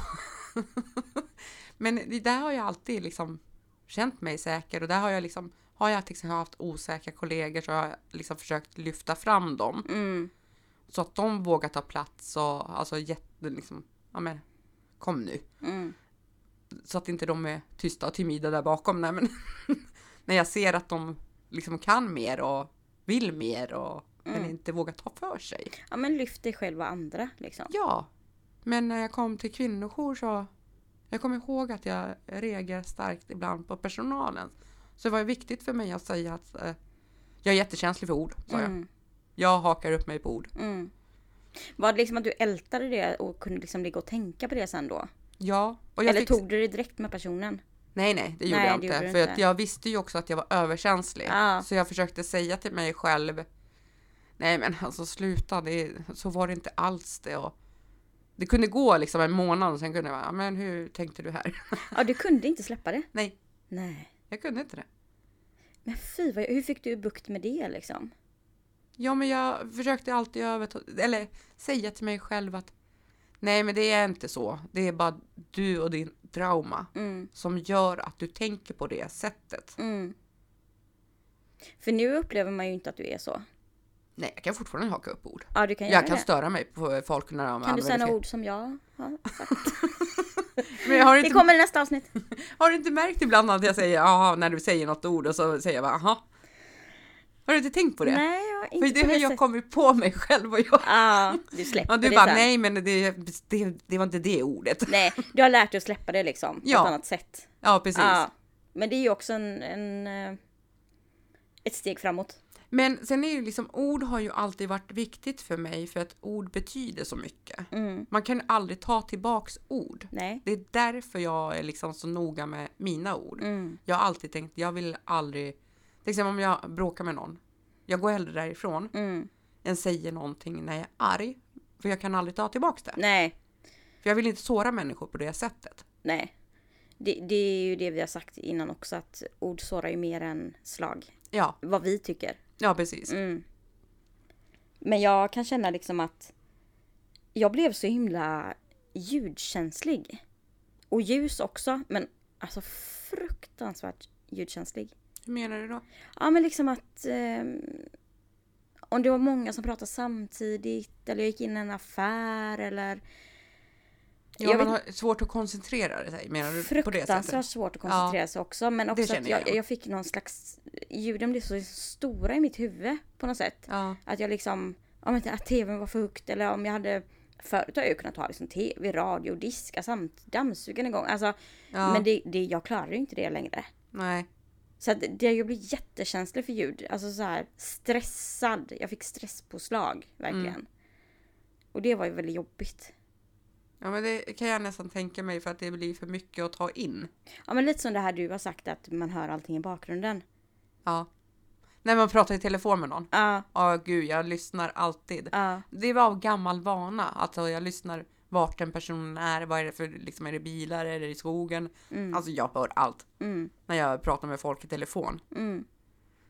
[SPEAKER 1] Men det där har jag alltid liksom känt mig säker och där har jag liksom har jag till exempel haft osäkra kollegor så har jag liksom försökt lyfta fram dem
[SPEAKER 2] Mm.
[SPEAKER 1] så att de vågar ta plats och alltså jätte liksom, ja men kom nu.
[SPEAKER 2] Mm.
[SPEAKER 1] Så att inte de är tysta och timida där bakom. Nej, men när jag ser att de liksom kan mer och vill mer och men inte vågar ta för sig.
[SPEAKER 2] Ja, men lyft dig själv och andra liksom.
[SPEAKER 1] Ja, men när jag kom till kvinnojour så... Jag kommer ihåg att jag reagerar starkt ibland på personalen. Så det var ju viktigt för mig att säga att eh, jag är jättekänslig för ord, sa jag.
[SPEAKER 2] Mm.
[SPEAKER 1] Jag hakar upp mig på ord.
[SPEAKER 2] Mm. Var det liksom att du ältade det och kunde liksom ligga och tänka på det sen då?
[SPEAKER 1] Ja, och jag
[SPEAKER 2] Eller
[SPEAKER 1] fick...
[SPEAKER 2] tog du det direkt med personen?
[SPEAKER 1] Nej, nej, det gjorde
[SPEAKER 2] Nej,
[SPEAKER 1] jag
[SPEAKER 2] det
[SPEAKER 1] inte.
[SPEAKER 2] gjorde du
[SPEAKER 1] för
[SPEAKER 2] inte.
[SPEAKER 1] Att jag visste ju också att jag var överkänslig.
[SPEAKER 2] Ja.
[SPEAKER 1] Så jag försökte säga till mig själv, nej men alltså sluta, det, så var det inte alls det. Och det kunde gå liksom en månad och sen kunde jag bara, men hur tänkte du här?
[SPEAKER 2] Ja, du kunde inte släppa det?
[SPEAKER 1] nej,
[SPEAKER 2] Nej.
[SPEAKER 1] jag kunde inte det.
[SPEAKER 2] Men fy, vad, hur fick du bukt med det liksom?
[SPEAKER 1] Ja, men jag försökte alltid överta- eller säga till mig själv att nej, men det är inte så. Det är bara du och din trauma
[SPEAKER 2] Mm,
[SPEAKER 1] som gör att du tänker på det sättet.
[SPEAKER 2] mm. För nu upplever man ju inte att du är så.
[SPEAKER 1] Nej, jag kan fortfarande haka upp ord.
[SPEAKER 2] Ja, du kan göra
[SPEAKER 1] Jag kan
[SPEAKER 2] det.
[SPEAKER 1] störa mig på folk när de
[SPEAKER 2] Eh. Kan du säga
[SPEAKER 1] använder
[SPEAKER 2] några
[SPEAKER 1] fel.
[SPEAKER 2] ord som jag har sagt?
[SPEAKER 1] Men har du
[SPEAKER 2] Det
[SPEAKER 1] inte,
[SPEAKER 2] kommer i nästa avsnitt.
[SPEAKER 1] har du inte märkt ibland att jag säger jaha när du säger något ord och så säger jag bara aha. Har du inte tänkt på det?
[SPEAKER 2] Nej, jag har
[SPEAKER 1] För
[SPEAKER 2] inte
[SPEAKER 1] det
[SPEAKER 2] på
[SPEAKER 1] har
[SPEAKER 2] det
[SPEAKER 1] jag
[SPEAKER 2] sättet.
[SPEAKER 1] kommit på mig själv och jag.
[SPEAKER 2] Ja, du släpper
[SPEAKER 1] Ja, du
[SPEAKER 2] det
[SPEAKER 1] bara
[SPEAKER 2] sen.
[SPEAKER 1] nej, men det, det, det var inte det ordet.
[SPEAKER 2] Nej, du har lärt dig att släppa det liksom. På
[SPEAKER 1] Ja,
[SPEAKER 2] ett annat sätt.
[SPEAKER 1] Ja, precis.
[SPEAKER 2] Ja. Men det är ju också en, en, eh, ett steg framåt.
[SPEAKER 1] Men sen är ju liksom ord har ju alltid varit viktigt för mig för att ord betyder så mycket.
[SPEAKER 2] Mm.
[SPEAKER 1] Man kan ju aldrig ta tillbaks ord.
[SPEAKER 2] Nej.
[SPEAKER 1] Det är därför jag är liksom så noga med mina ord.
[SPEAKER 2] Mm.
[SPEAKER 1] Jag har alltid tänkt, jag vill aldrig, till exempel om jag bråkar med någon, jag går hellre därifrån
[SPEAKER 2] Mm.
[SPEAKER 1] än säger någonting när jag är arg. För jag kan aldrig ta tillbaks det.
[SPEAKER 2] Nej.
[SPEAKER 1] För jag vill inte såra människor på det sättet.
[SPEAKER 2] Nej. Det, det är ju det vi har sagt innan också att ord sårar ju mer än slag.
[SPEAKER 1] Ja,
[SPEAKER 2] Vad vi tycker.
[SPEAKER 1] ja precis.
[SPEAKER 2] Mm. Men jag kan känna liksom att jag blev så himla ljudkänslig. Och ljus också, men alltså fruktansvärt ljudkänslig.
[SPEAKER 1] Hur menar du då?
[SPEAKER 2] Ja men liksom att ehm, om det var många som pratade samtidigt eller jag gick in i en affär eller
[SPEAKER 1] Ja,
[SPEAKER 2] Jag
[SPEAKER 1] man
[SPEAKER 2] vet-
[SPEAKER 1] har svårt att koncentrera sig, menar du? På det
[SPEAKER 2] fruktansvärt
[SPEAKER 1] sättet?
[SPEAKER 2] svårt att koncentrera sig också. Men också att
[SPEAKER 1] känner jag
[SPEAKER 2] jag, jag fick någon slags... Ljuden blev så stora i mitt huvud på något sätt.
[SPEAKER 1] Ja,
[SPEAKER 2] Att jag liksom... Om inte, att tvn var för högt eller om jag hade... Förut har jag ju kunnat ha liksom tv, radio, diska samt dammsugaren igång. Alltså,
[SPEAKER 1] Ja.
[SPEAKER 2] Men det, det, jag klarar ju inte det längre.
[SPEAKER 1] nej.
[SPEAKER 2] Så att det, jag blev jättekänslig för ljud. Alltså så här stressad. Jag fick stresspåslag verkligen.
[SPEAKER 1] Mm.
[SPEAKER 2] Och det var ju väldigt jobbigt.
[SPEAKER 1] Ja, men det kan jag nästan tänka mig för att det blir för mycket att ta in.
[SPEAKER 2] Ja men lite som det här du har sagt att man hör allting i bakgrunden.
[SPEAKER 1] Ja. När man pratar i telefon med någon.
[SPEAKER 2] Ja,
[SPEAKER 1] Ja, gud, jag lyssnar alltid.
[SPEAKER 2] ja.
[SPEAKER 1] Det var av gammal vana. Alltså, jag lyssnar vart den personen är. Vad är det för, liksom, är det bilar? Är det i skogen? Alltså, jag hör allt
[SPEAKER 2] Mm,
[SPEAKER 1] när jag pratar med folk i telefon.
[SPEAKER 2] mm.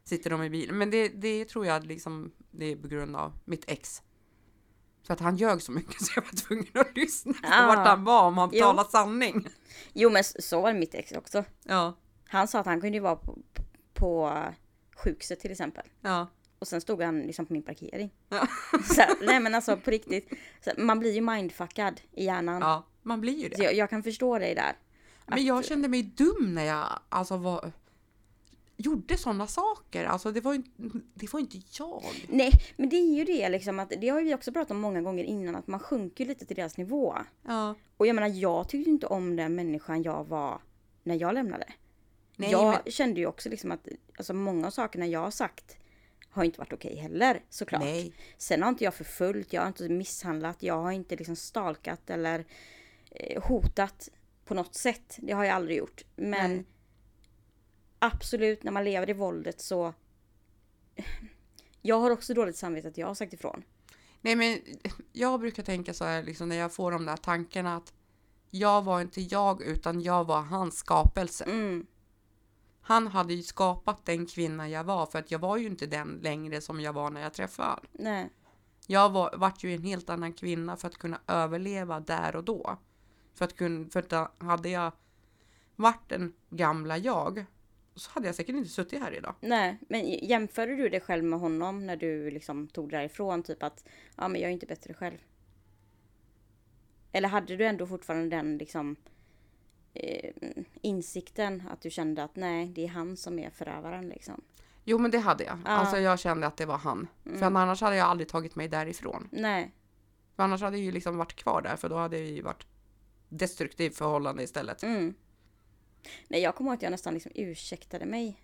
[SPEAKER 1] Sitter de i bilen? Men det, det tror jag liksom, det är på grund av mitt ex. För att han ljög så mycket så jag var tvungen att lyssna på
[SPEAKER 2] Ah.
[SPEAKER 1] vart han var om han
[SPEAKER 2] Jo.
[SPEAKER 1] talade sanning.
[SPEAKER 2] Jo men s- så var mitt ex också.
[SPEAKER 1] Ja,
[SPEAKER 2] Han sa att han kunde ju vara på, på eh, sjukhuset till exempel.
[SPEAKER 1] ja,
[SPEAKER 2] Och sen stod han liksom på min parkering.
[SPEAKER 1] Ja.
[SPEAKER 2] Så, här, nej men alltså på riktigt. Så, här, man blir ju mindfuckad i hjärnan.
[SPEAKER 1] ja. Man blir ju det.
[SPEAKER 2] Så jag, jag kan förstå dig där.
[SPEAKER 1] Men jag kände mig dum när jag alltså var... gjorde sådana saker. Alltså det var ju det var ju inte jag.
[SPEAKER 2] Nej, men det är ju det liksom att det har vi också pratat om många gånger innan att man sjunker lite till deras nivå.
[SPEAKER 1] Ja.
[SPEAKER 2] Och jag menar jag tyckte ju inte om den människan jag var när jag lämnade.
[SPEAKER 1] Nej,
[SPEAKER 2] jag
[SPEAKER 1] men,
[SPEAKER 2] kände ju också liksom att alltså, många av sakerna jag har sagt har inte varit okej heller såklart.
[SPEAKER 1] nej.
[SPEAKER 2] Sen har inte jag förföljt, jag har inte misshandlat, jag har inte liksom stalkat eller eh, hotat på något sätt. Det har jag aldrig gjort. Men
[SPEAKER 1] Nej.
[SPEAKER 2] absolut, när man lever i våldet så... eh, Jag har också dåligt samvete att jag har sagt ifrån.
[SPEAKER 1] nej men jag brukar tänka så här liksom, när jag får de där tankarna att jag var inte jag utan jag var hans skapelse.
[SPEAKER 2] Mm,
[SPEAKER 1] Han hade ju skapat den kvinna jag var för att jag var ju inte den längre som jag var när jag träffade honom.
[SPEAKER 2] nej.
[SPEAKER 1] Jag var, vart ju en helt annan kvinna för att kunna överleva där och då. För att kunna, för att då hade jag varit den gamla jag så hade jag säkert inte suttit här idag.
[SPEAKER 2] Nej, men jämförde du dig själv med honom när du liksom tog därifrån? Typ att, ja men jag är inte bättre själv. Eller hade du ändå fortfarande den liksom eh, insikten att du kände att nej, det är han som är förövaren liksom?
[SPEAKER 1] Jo men det hade jag.
[SPEAKER 2] Ja.
[SPEAKER 1] Alltså jag kände att det var han. För annars hade jag aldrig tagit mig därifrån.
[SPEAKER 2] Nej,
[SPEAKER 1] För annars hade jag ju liksom varit kvar där för då hade jag ju varit destruktivt förhållande istället.
[SPEAKER 2] Mm. Nej, jag kommer ihåg att jag nästan liksom ursäktade mig.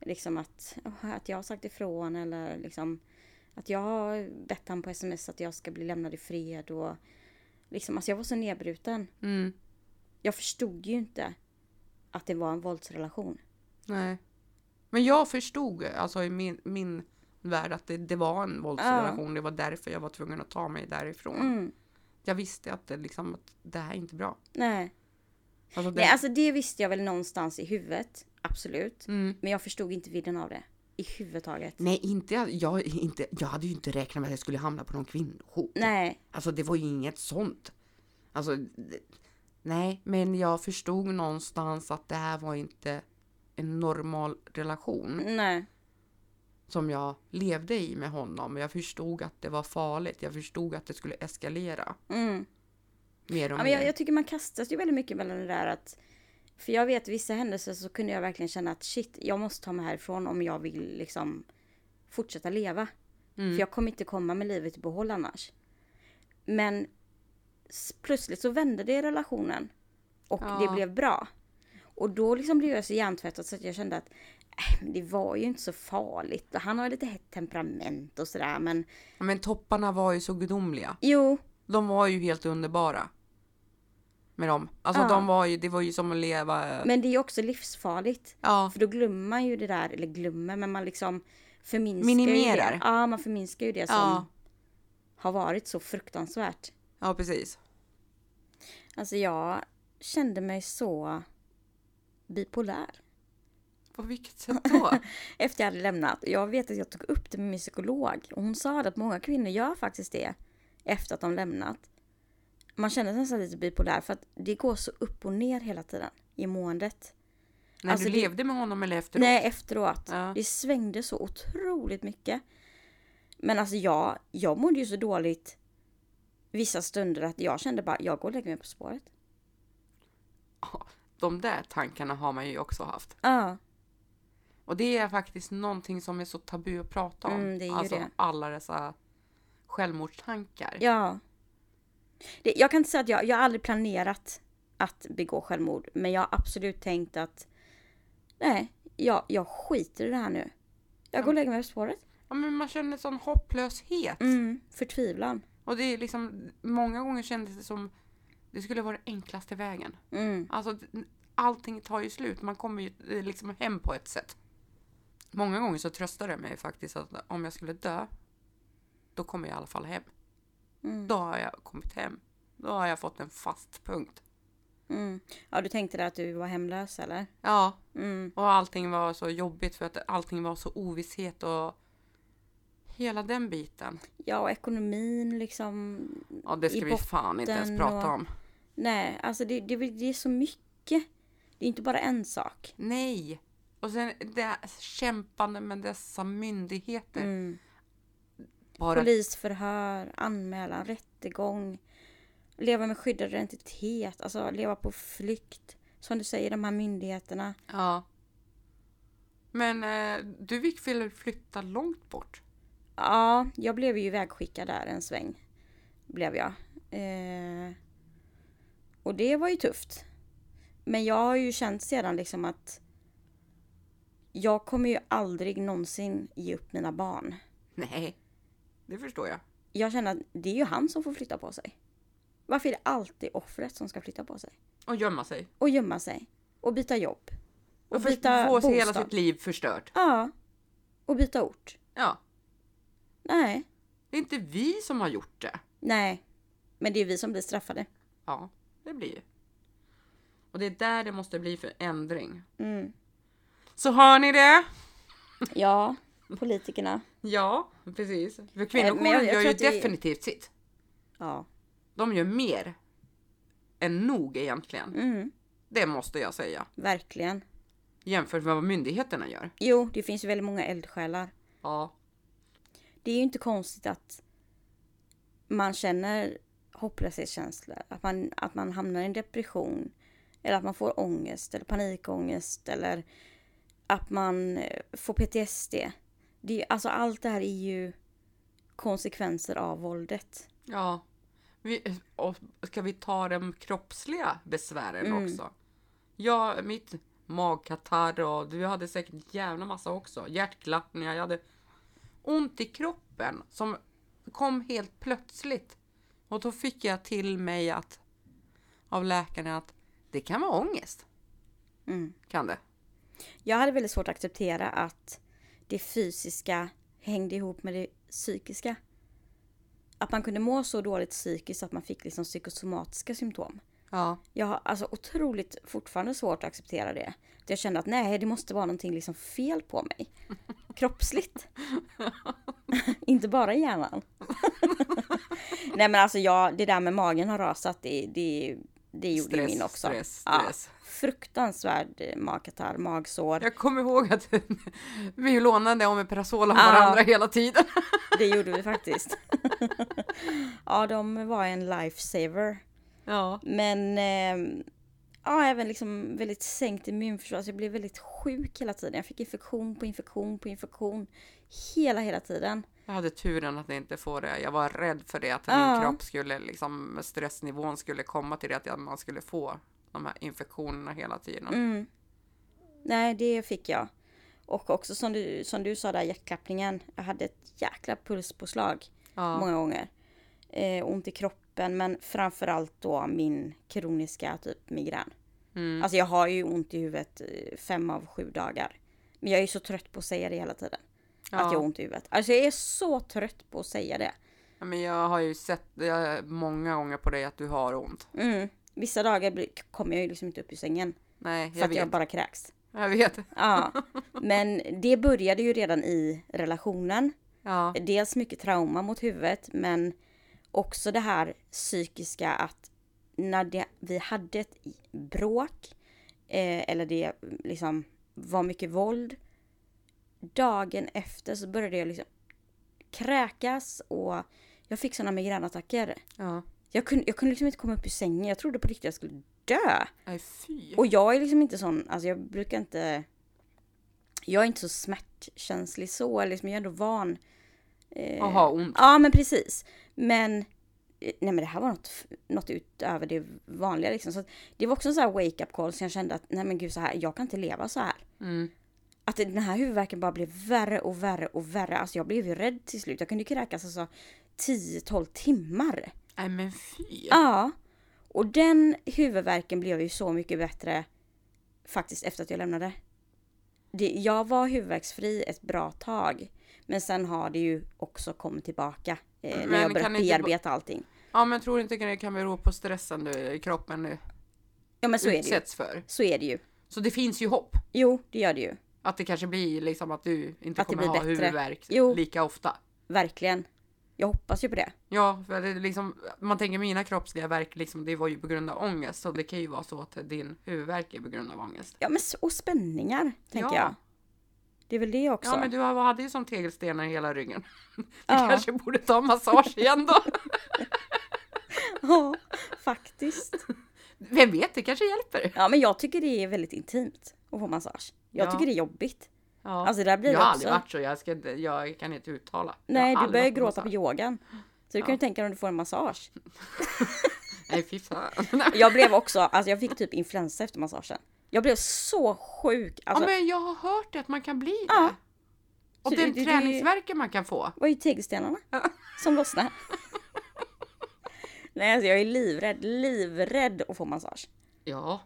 [SPEAKER 2] Liksom att, "Åh, att jag har sagt ifrån eller liksom att jag har bett han på sms att jag ska bli lämnad i fred och liksom, alltså jag var så nedbruten.
[SPEAKER 1] Mm.
[SPEAKER 2] Jag förstod ju inte att det var en våldsrelation.
[SPEAKER 1] Nej. Men jag förstod alltså i min, min värld att det, det var en våldsrelation. Det var därför jag var tvungen att ta mig därifrån.
[SPEAKER 2] Mm.
[SPEAKER 1] Jag visste att det, liksom, att det här är inte bra.
[SPEAKER 2] Nej.
[SPEAKER 1] Alltså det,
[SPEAKER 2] Nej, alltså det visste jag väl någonstans i huvudet, absolut.
[SPEAKER 1] mm.
[SPEAKER 2] Men jag förstod inte vidden av det. I huvud taget.
[SPEAKER 1] Nej, inte, jag, inte, jag hade ju inte räknat med att jag skulle hamna på någon kvinnojour.
[SPEAKER 2] Nej.
[SPEAKER 1] Alltså det var ju inget sånt. Alltså, det- nej, men jag förstod någonstans att det här var inte en normal relation
[SPEAKER 2] Nej.
[SPEAKER 1] som jag levde i med honom. Jag förstod att det var farligt. Jag förstod att det skulle eskalera
[SPEAKER 2] Mm.
[SPEAKER 1] mer och
[SPEAKER 2] Ja, men
[SPEAKER 1] mer.
[SPEAKER 2] jag, jag tycker man kastas ju väldigt mycket mellan det där att för jag vet vissa händelser så kunde jag verkligen känna att shit, jag måste ta mig härifrån om jag vill liksom fortsätta leva. För jag kommer inte komma med livet i behåll annars. Men s- plötsligt så vände det i relationen och
[SPEAKER 1] Ja.
[SPEAKER 2] det blev bra. Och då liksom blev jag så hjärntvättad så att jag kände att äh, men det var ju inte så farligt. Och han har lite hett temperament och sådär men
[SPEAKER 1] Ja, Men topparna var ju så gudomliga.
[SPEAKER 2] jo,
[SPEAKER 1] De var ju helt underbara. Med dem. Alltså
[SPEAKER 2] Ja.
[SPEAKER 1] de var ju, det var ju som att leva...
[SPEAKER 2] men det är ju också livsfarligt.
[SPEAKER 1] Ja,
[SPEAKER 2] För då glömmer man ju det där, eller glömmer, men man liksom förminskar
[SPEAKER 1] Minimerar.
[SPEAKER 2] Ju det. Ja, man förminskar ju det som
[SPEAKER 1] Ja.
[SPEAKER 2] har varit så fruktansvärt.
[SPEAKER 1] ja precis.
[SPEAKER 2] Alltså jag kände mig så bipolär
[SPEAKER 1] På vilket sätt då?
[SPEAKER 2] efter jag hade lämnat. Jag vet att jag tog upp det med min psykolog och hon sa att många kvinnor gör faktiskt det efter att de lämnat. Man känner sig nästan lite bipolär för att det går så upp och ner hela tiden i måendet.
[SPEAKER 1] När
[SPEAKER 2] Alltså,
[SPEAKER 1] du
[SPEAKER 2] det-
[SPEAKER 1] levde med honom eller efteråt?
[SPEAKER 2] Nej, efteråt.
[SPEAKER 1] Ja.
[SPEAKER 2] Det svängde så otroligt mycket. Men alltså jag, jag mådde ju så dåligt vissa stunder att jag kände bara, jag går och lägger mig på spåret.
[SPEAKER 1] De där tankarna har man ju också haft.
[SPEAKER 2] Ja,
[SPEAKER 1] Och det är faktiskt någonting som är så tabu att prata om.
[SPEAKER 2] Mm, det är ju
[SPEAKER 1] alltså
[SPEAKER 2] det.
[SPEAKER 1] alla dessa självmordstankar.
[SPEAKER 2] ja. Det, jag kan inte säga att jag, jag har aldrig planerat att begå självmord, men jag har absolut tänkt att nej, jag, jag skiter i det här nu. Jag går och lägger mig på spåret.
[SPEAKER 1] Ja, men man känner sån hopplöshet.
[SPEAKER 2] Mm, förtvivlan.
[SPEAKER 1] Och det är liksom, många gånger kändes det som det skulle vara den enklaste vägen.
[SPEAKER 2] Mm,
[SPEAKER 1] Alltså, d- allting tar ju slut. Man kommer ju eh, liksom hem på ett sätt. Många gånger så tröstar det mig faktiskt att om jag skulle dö, då kommer jag i alla fall hem.
[SPEAKER 2] mm,
[SPEAKER 1] Då har jag kommit hem. Då har jag fått en fast punkt.
[SPEAKER 2] mm. Ja, du tänkte där att du var hemlös eller?
[SPEAKER 1] Ja,
[SPEAKER 2] Mm,
[SPEAKER 1] och allting var så jobbigt för att allting var så ovisshet och hela den biten.
[SPEAKER 2] ja, och ekonomin liksom.
[SPEAKER 1] Ja, det
[SPEAKER 2] I
[SPEAKER 1] ska vi fan inte ens
[SPEAKER 2] botten
[SPEAKER 1] prata
[SPEAKER 2] och-
[SPEAKER 1] om.
[SPEAKER 2] Nej, alltså det, det, det är så mycket. Det är inte bara en sak.
[SPEAKER 1] Nej! Och sen det här kämpande med dessa myndigheter.
[SPEAKER 2] Mm.
[SPEAKER 1] Bara
[SPEAKER 2] Polisförhör, anmälan, rättegång. Leva med skyddad identitet, alltså leva på flykt. Som du säger, de här myndigheterna.
[SPEAKER 1] Ja. Men eh, du fick väl flytta långt bort?
[SPEAKER 2] Ja, jag blev ju vägskickad där en sväng. Blev jag. Eh, och det var ju tufft. Men jag har ju känt sedan liksom att jag kommer ju aldrig någonsin ge upp mina barn.
[SPEAKER 1] Nej. Det förstår jag.
[SPEAKER 2] Jag känner att det är ju han som får flytta på sig. Varför är det alltid offret som ska flytta på sig?
[SPEAKER 1] Och gömma sig.
[SPEAKER 2] Och gömma sig. Och byta jobb. Och
[SPEAKER 1] Och först-
[SPEAKER 2] byta
[SPEAKER 1] få
[SPEAKER 2] bostad.
[SPEAKER 1] sig hela sitt liv förstört.
[SPEAKER 2] Ja. Och byta ort.
[SPEAKER 1] Ja.
[SPEAKER 2] Nej.
[SPEAKER 1] Det är inte vi som har gjort det.
[SPEAKER 2] Nej. Men det är vi som blir straffade.
[SPEAKER 1] Ja, det blir ju. Och det är där det måste bli för ändring.
[SPEAKER 2] Mm.
[SPEAKER 1] Så hör ni det?
[SPEAKER 2] Ja, politikerna.
[SPEAKER 1] Ja, precis. För kvinnojouren
[SPEAKER 2] Eh, men jag- jag
[SPEAKER 1] gör
[SPEAKER 2] tror
[SPEAKER 1] ju
[SPEAKER 2] att det-
[SPEAKER 1] definitivt sitt.
[SPEAKER 2] Ja.
[SPEAKER 1] De gör mer än nog egentligen.
[SPEAKER 2] Mm,
[SPEAKER 1] Det måste jag säga.
[SPEAKER 2] verkligen.
[SPEAKER 1] Jämfört med vad myndigheterna gör.
[SPEAKER 2] Jo, det finns ju väldigt många eldsjälar.
[SPEAKER 1] Ja,
[SPEAKER 2] Det är ju inte konstigt att man känner hopplöshetskänsla. Att man, att man hamnar i en depression. Eller att man får ångest eller panikångest. Eller att man eh, får PTSD. Det är, ju- alltså allt det här är ju konsekvenser av våldet.
[SPEAKER 1] ja. Vi, och ska vi ta de kroppsliga besvären också? Ja, mitt magkatarr och du hade säkert en jävla massa också. Hjärtklappningar, jag hade ont i kroppen som kom helt plötsligt. Och då fick jag till mig att av läkaren att det kan vara ångest.
[SPEAKER 2] Mm.
[SPEAKER 1] Kan det?
[SPEAKER 2] Jag hade väldigt svårt att acceptera att det fysiska hängde ihop med det psykiska. Att man kunde må så dåligt psykiskt att man fick liksom psykosomatiska symptom.
[SPEAKER 1] Ja.
[SPEAKER 2] Jag har alltså otroligt fortfarande svårt att acceptera det. Att jag kände att nej, det måste vara någonting liksom fel på mig. Kroppsligt. Inte bara i hjärnan. nej men alltså jag, det där med magen har rasat. Det, det, det gjorde
[SPEAKER 1] Stress,
[SPEAKER 2] min också.
[SPEAKER 1] stress, stress.
[SPEAKER 2] Ja, fruktansvärd eh, magkatarr, magsår.
[SPEAKER 1] Jag kommer ihåg att vi lånade Omeprazol av
[SPEAKER 2] Ja.
[SPEAKER 1] varandra hela tiden.
[SPEAKER 2] Det gjorde vi faktiskt. ja, de var en lifesaver.
[SPEAKER 1] Ja.
[SPEAKER 2] Men eh, ja, även liksom väldigt sänkt immunförsvar. Så jag blev väldigt sjuk hela tiden. Jag fick infektion på infektion på infektion. Hela, hela tiden.
[SPEAKER 1] Jag hade turen att inte få det. Jag var rädd för det, att min
[SPEAKER 2] Ja.
[SPEAKER 1] kropp skulle, liksom, stressnivån skulle komma till det, att jag- man skulle få de här infektionerna hela tiden.
[SPEAKER 2] Mm. Nej, det fick jag. Och också som du, som du sa där, hjärtklappningen. Jag hade ett jäkla pulspåslag
[SPEAKER 1] Ja.
[SPEAKER 2] många gånger. Eh, ont i kroppen, men framförallt då min kroniska typ migrän.
[SPEAKER 1] Mm.
[SPEAKER 2] Alltså jag har ju ont i huvudet eh, fem av sju dagar. Men jag är så trött på att säga det hela tiden.
[SPEAKER 1] Ja.
[SPEAKER 2] Att jag har ont i huvudet. Alltså jag är så trött på att säga det.
[SPEAKER 1] Ja, Men jag har ju sett jag, många gånger på dig att du har ont.
[SPEAKER 2] Mm. Vissa dagar blir- kommer jag ju liksom inte upp ur sängen.
[SPEAKER 1] Nej,
[SPEAKER 2] För
[SPEAKER 1] jag
[SPEAKER 2] att
[SPEAKER 1] vet.
[SPEAKER 2] jag
[SPEAKER 1] Jag,
[SPEAKER 2] bara kräks.
[SPEAKER 1] vet.
[SPEAKER 2] Ja. Men det började ju redan i relationen.
[SPEAKER 1] Ja.
[SPEAKER 2] Dels mycket trauma mot huvudet men också det här psykiska att när det, vi hade ett bråk eh, eller det liksom var mycket våld. Dagen efter så började jag liksom kräkas och jag fick sådana migränattacker.
[SPEAKER 1] ja.
[SPEAKER 2] Jag kunde, jag kunde liksom inte komma upp ur sängen. Jag trodde på riktigt jag skulle dö.
[SPEAKER 1] Nej, fy.
[SPEAKER 2] Och jag är liksom inte sån, alltså jag brukar inte... Jag är inte så smärtkänslig så, liksom jag är ändå van. Eh,
[SPEAKER 1] Och ha ont.
[SPEAKER 2] Ja men precis. Men, eh, nej men det här var något, f- något utöver det vanliga liksom. Så att, det var också en sån här wake up call som jag kände att nej men gud så här, jag kan inte leva så här.
[SPEAKER 1] Mm.
[SPEAKER 2] Att det- den här huvudvärken bara blev värre och värre och värre. Alltså jag blev ju rädd till slut. Jag kunde ju kräkas alltså 10-12 timmar.
[SPEAKER 1] Nej, men fy.
[SPEAKER 2] Ja. Och den huvudvärken blev ju så mycket bättre faktiskt efter att jag lämnade. Det, jag var huvudvärksfri ett bra tag. Men sen har det ju också kommit tillbaka eh,
[SPEAKER 1] Men
[SPEAKER 2] när jag börjat
[SPEAKER 1] kan det inte
[SPEAKER 2] bearbeta allting.
[SPEAKER 1] Ja, men tror du inte det kan bero på stressen du i kroppen nu
[SPEAKER 2] Ja men så är det ju.
[SPEAKER 1] utsätts för?
[SPEAKER 2] Så är det ju.
[SPEAKER 1] Så det finns ju hopp.
[SPEAKER 2] Jo, det gör det ju.
[SPEAKER 1] Att det kanske blir liksom att du inte
[SPEAKER 2] Att det
[SPEAKER 1] kommer
[SPEAKER 2] blir
[SPEAKER 1] ha
[SPEAKER 2] bättre.
[SPEAKER 1] huvudvärk
[SPEAKER 2] Jo.
[SPEAKER 1] lika ofta.
[SPEAKER 2] Verkligen. Jag hoppas ju på det.
[SPEAKER 1] Ja, för det är liksom, man tänker mina kroppsliga verk, liksom, det var ju på grund av ångest. Så det kan ju vara så att din huvudvärk är på grund av ångest.
[SPEAKER 2] Ja men s- och spänningar, tänker
[SPEAKER 1] Ja.
[SPEAKER 2] jag. Det är väl det också.
[SPEAKER 1] Ja, men du har- hade ju som tegelstenar i hela ryggen. Du
[SPEAKER 2] Ja.
[SPEAKER 1] kanske borde ta en massage igen då.
[SPEAKER 2] ja faktiskt.
[SPEAKER 1] Vem vet, det kanske hjälper.
[SPEAKER 2] Ja men jag tycker det är väldigt intimt att få massage. Jag
[SPEAKER 1] Ja.
[SPEAKER 2] tycker det är jobbigt.
[SPEAKER 1] Ja.
[SPEAKER 2] Alltså där blir
[SPEAKER 1] jag
[SPEAKER 2] det
[SPEAKER 1] har
[SPEAKER 2] också.
[SPEAKER 1] aldrig varit så. Jag, ska, jag kan inte uttala. Jag har
[SPEAKER 2] Nej, du
[SPEAKER 1] aldrig
[SPEAKER 2] börjar
[SPEAKER 1] varit på
[SPEAKER 2] gråta på
[SPEAKER 1] massage.
[SPEAKER 2] yogan. Så du kan
[SPEAKER 1] Ja.
[SPEAKER 2] ju tänka dig om du får en massage.
[SPEAKER 1] Nej, fy fan. Nej.
[SPEAKER 2] Jag blev också, alltså jag fick typ influensa efter massagen. Jag blev så sjuk. Alltså,
[SPEAKER 1] ja, men jag har hört det, att man kan bli det.
[SPEAKER 2] Ja.
[SPEAKER 1] Och
[SPEAKER 2] Så
[SPEAKER 1] den
[SPEAKER 2] det- det-
[SPEAKER 1] träningsverken man kan få.
[SPEAKER 2] Det var ju tegelstenarna som lossnade. Nej, alltså jag är livrädd, livrädd att få massage.
[SPEAKER 1] Ja.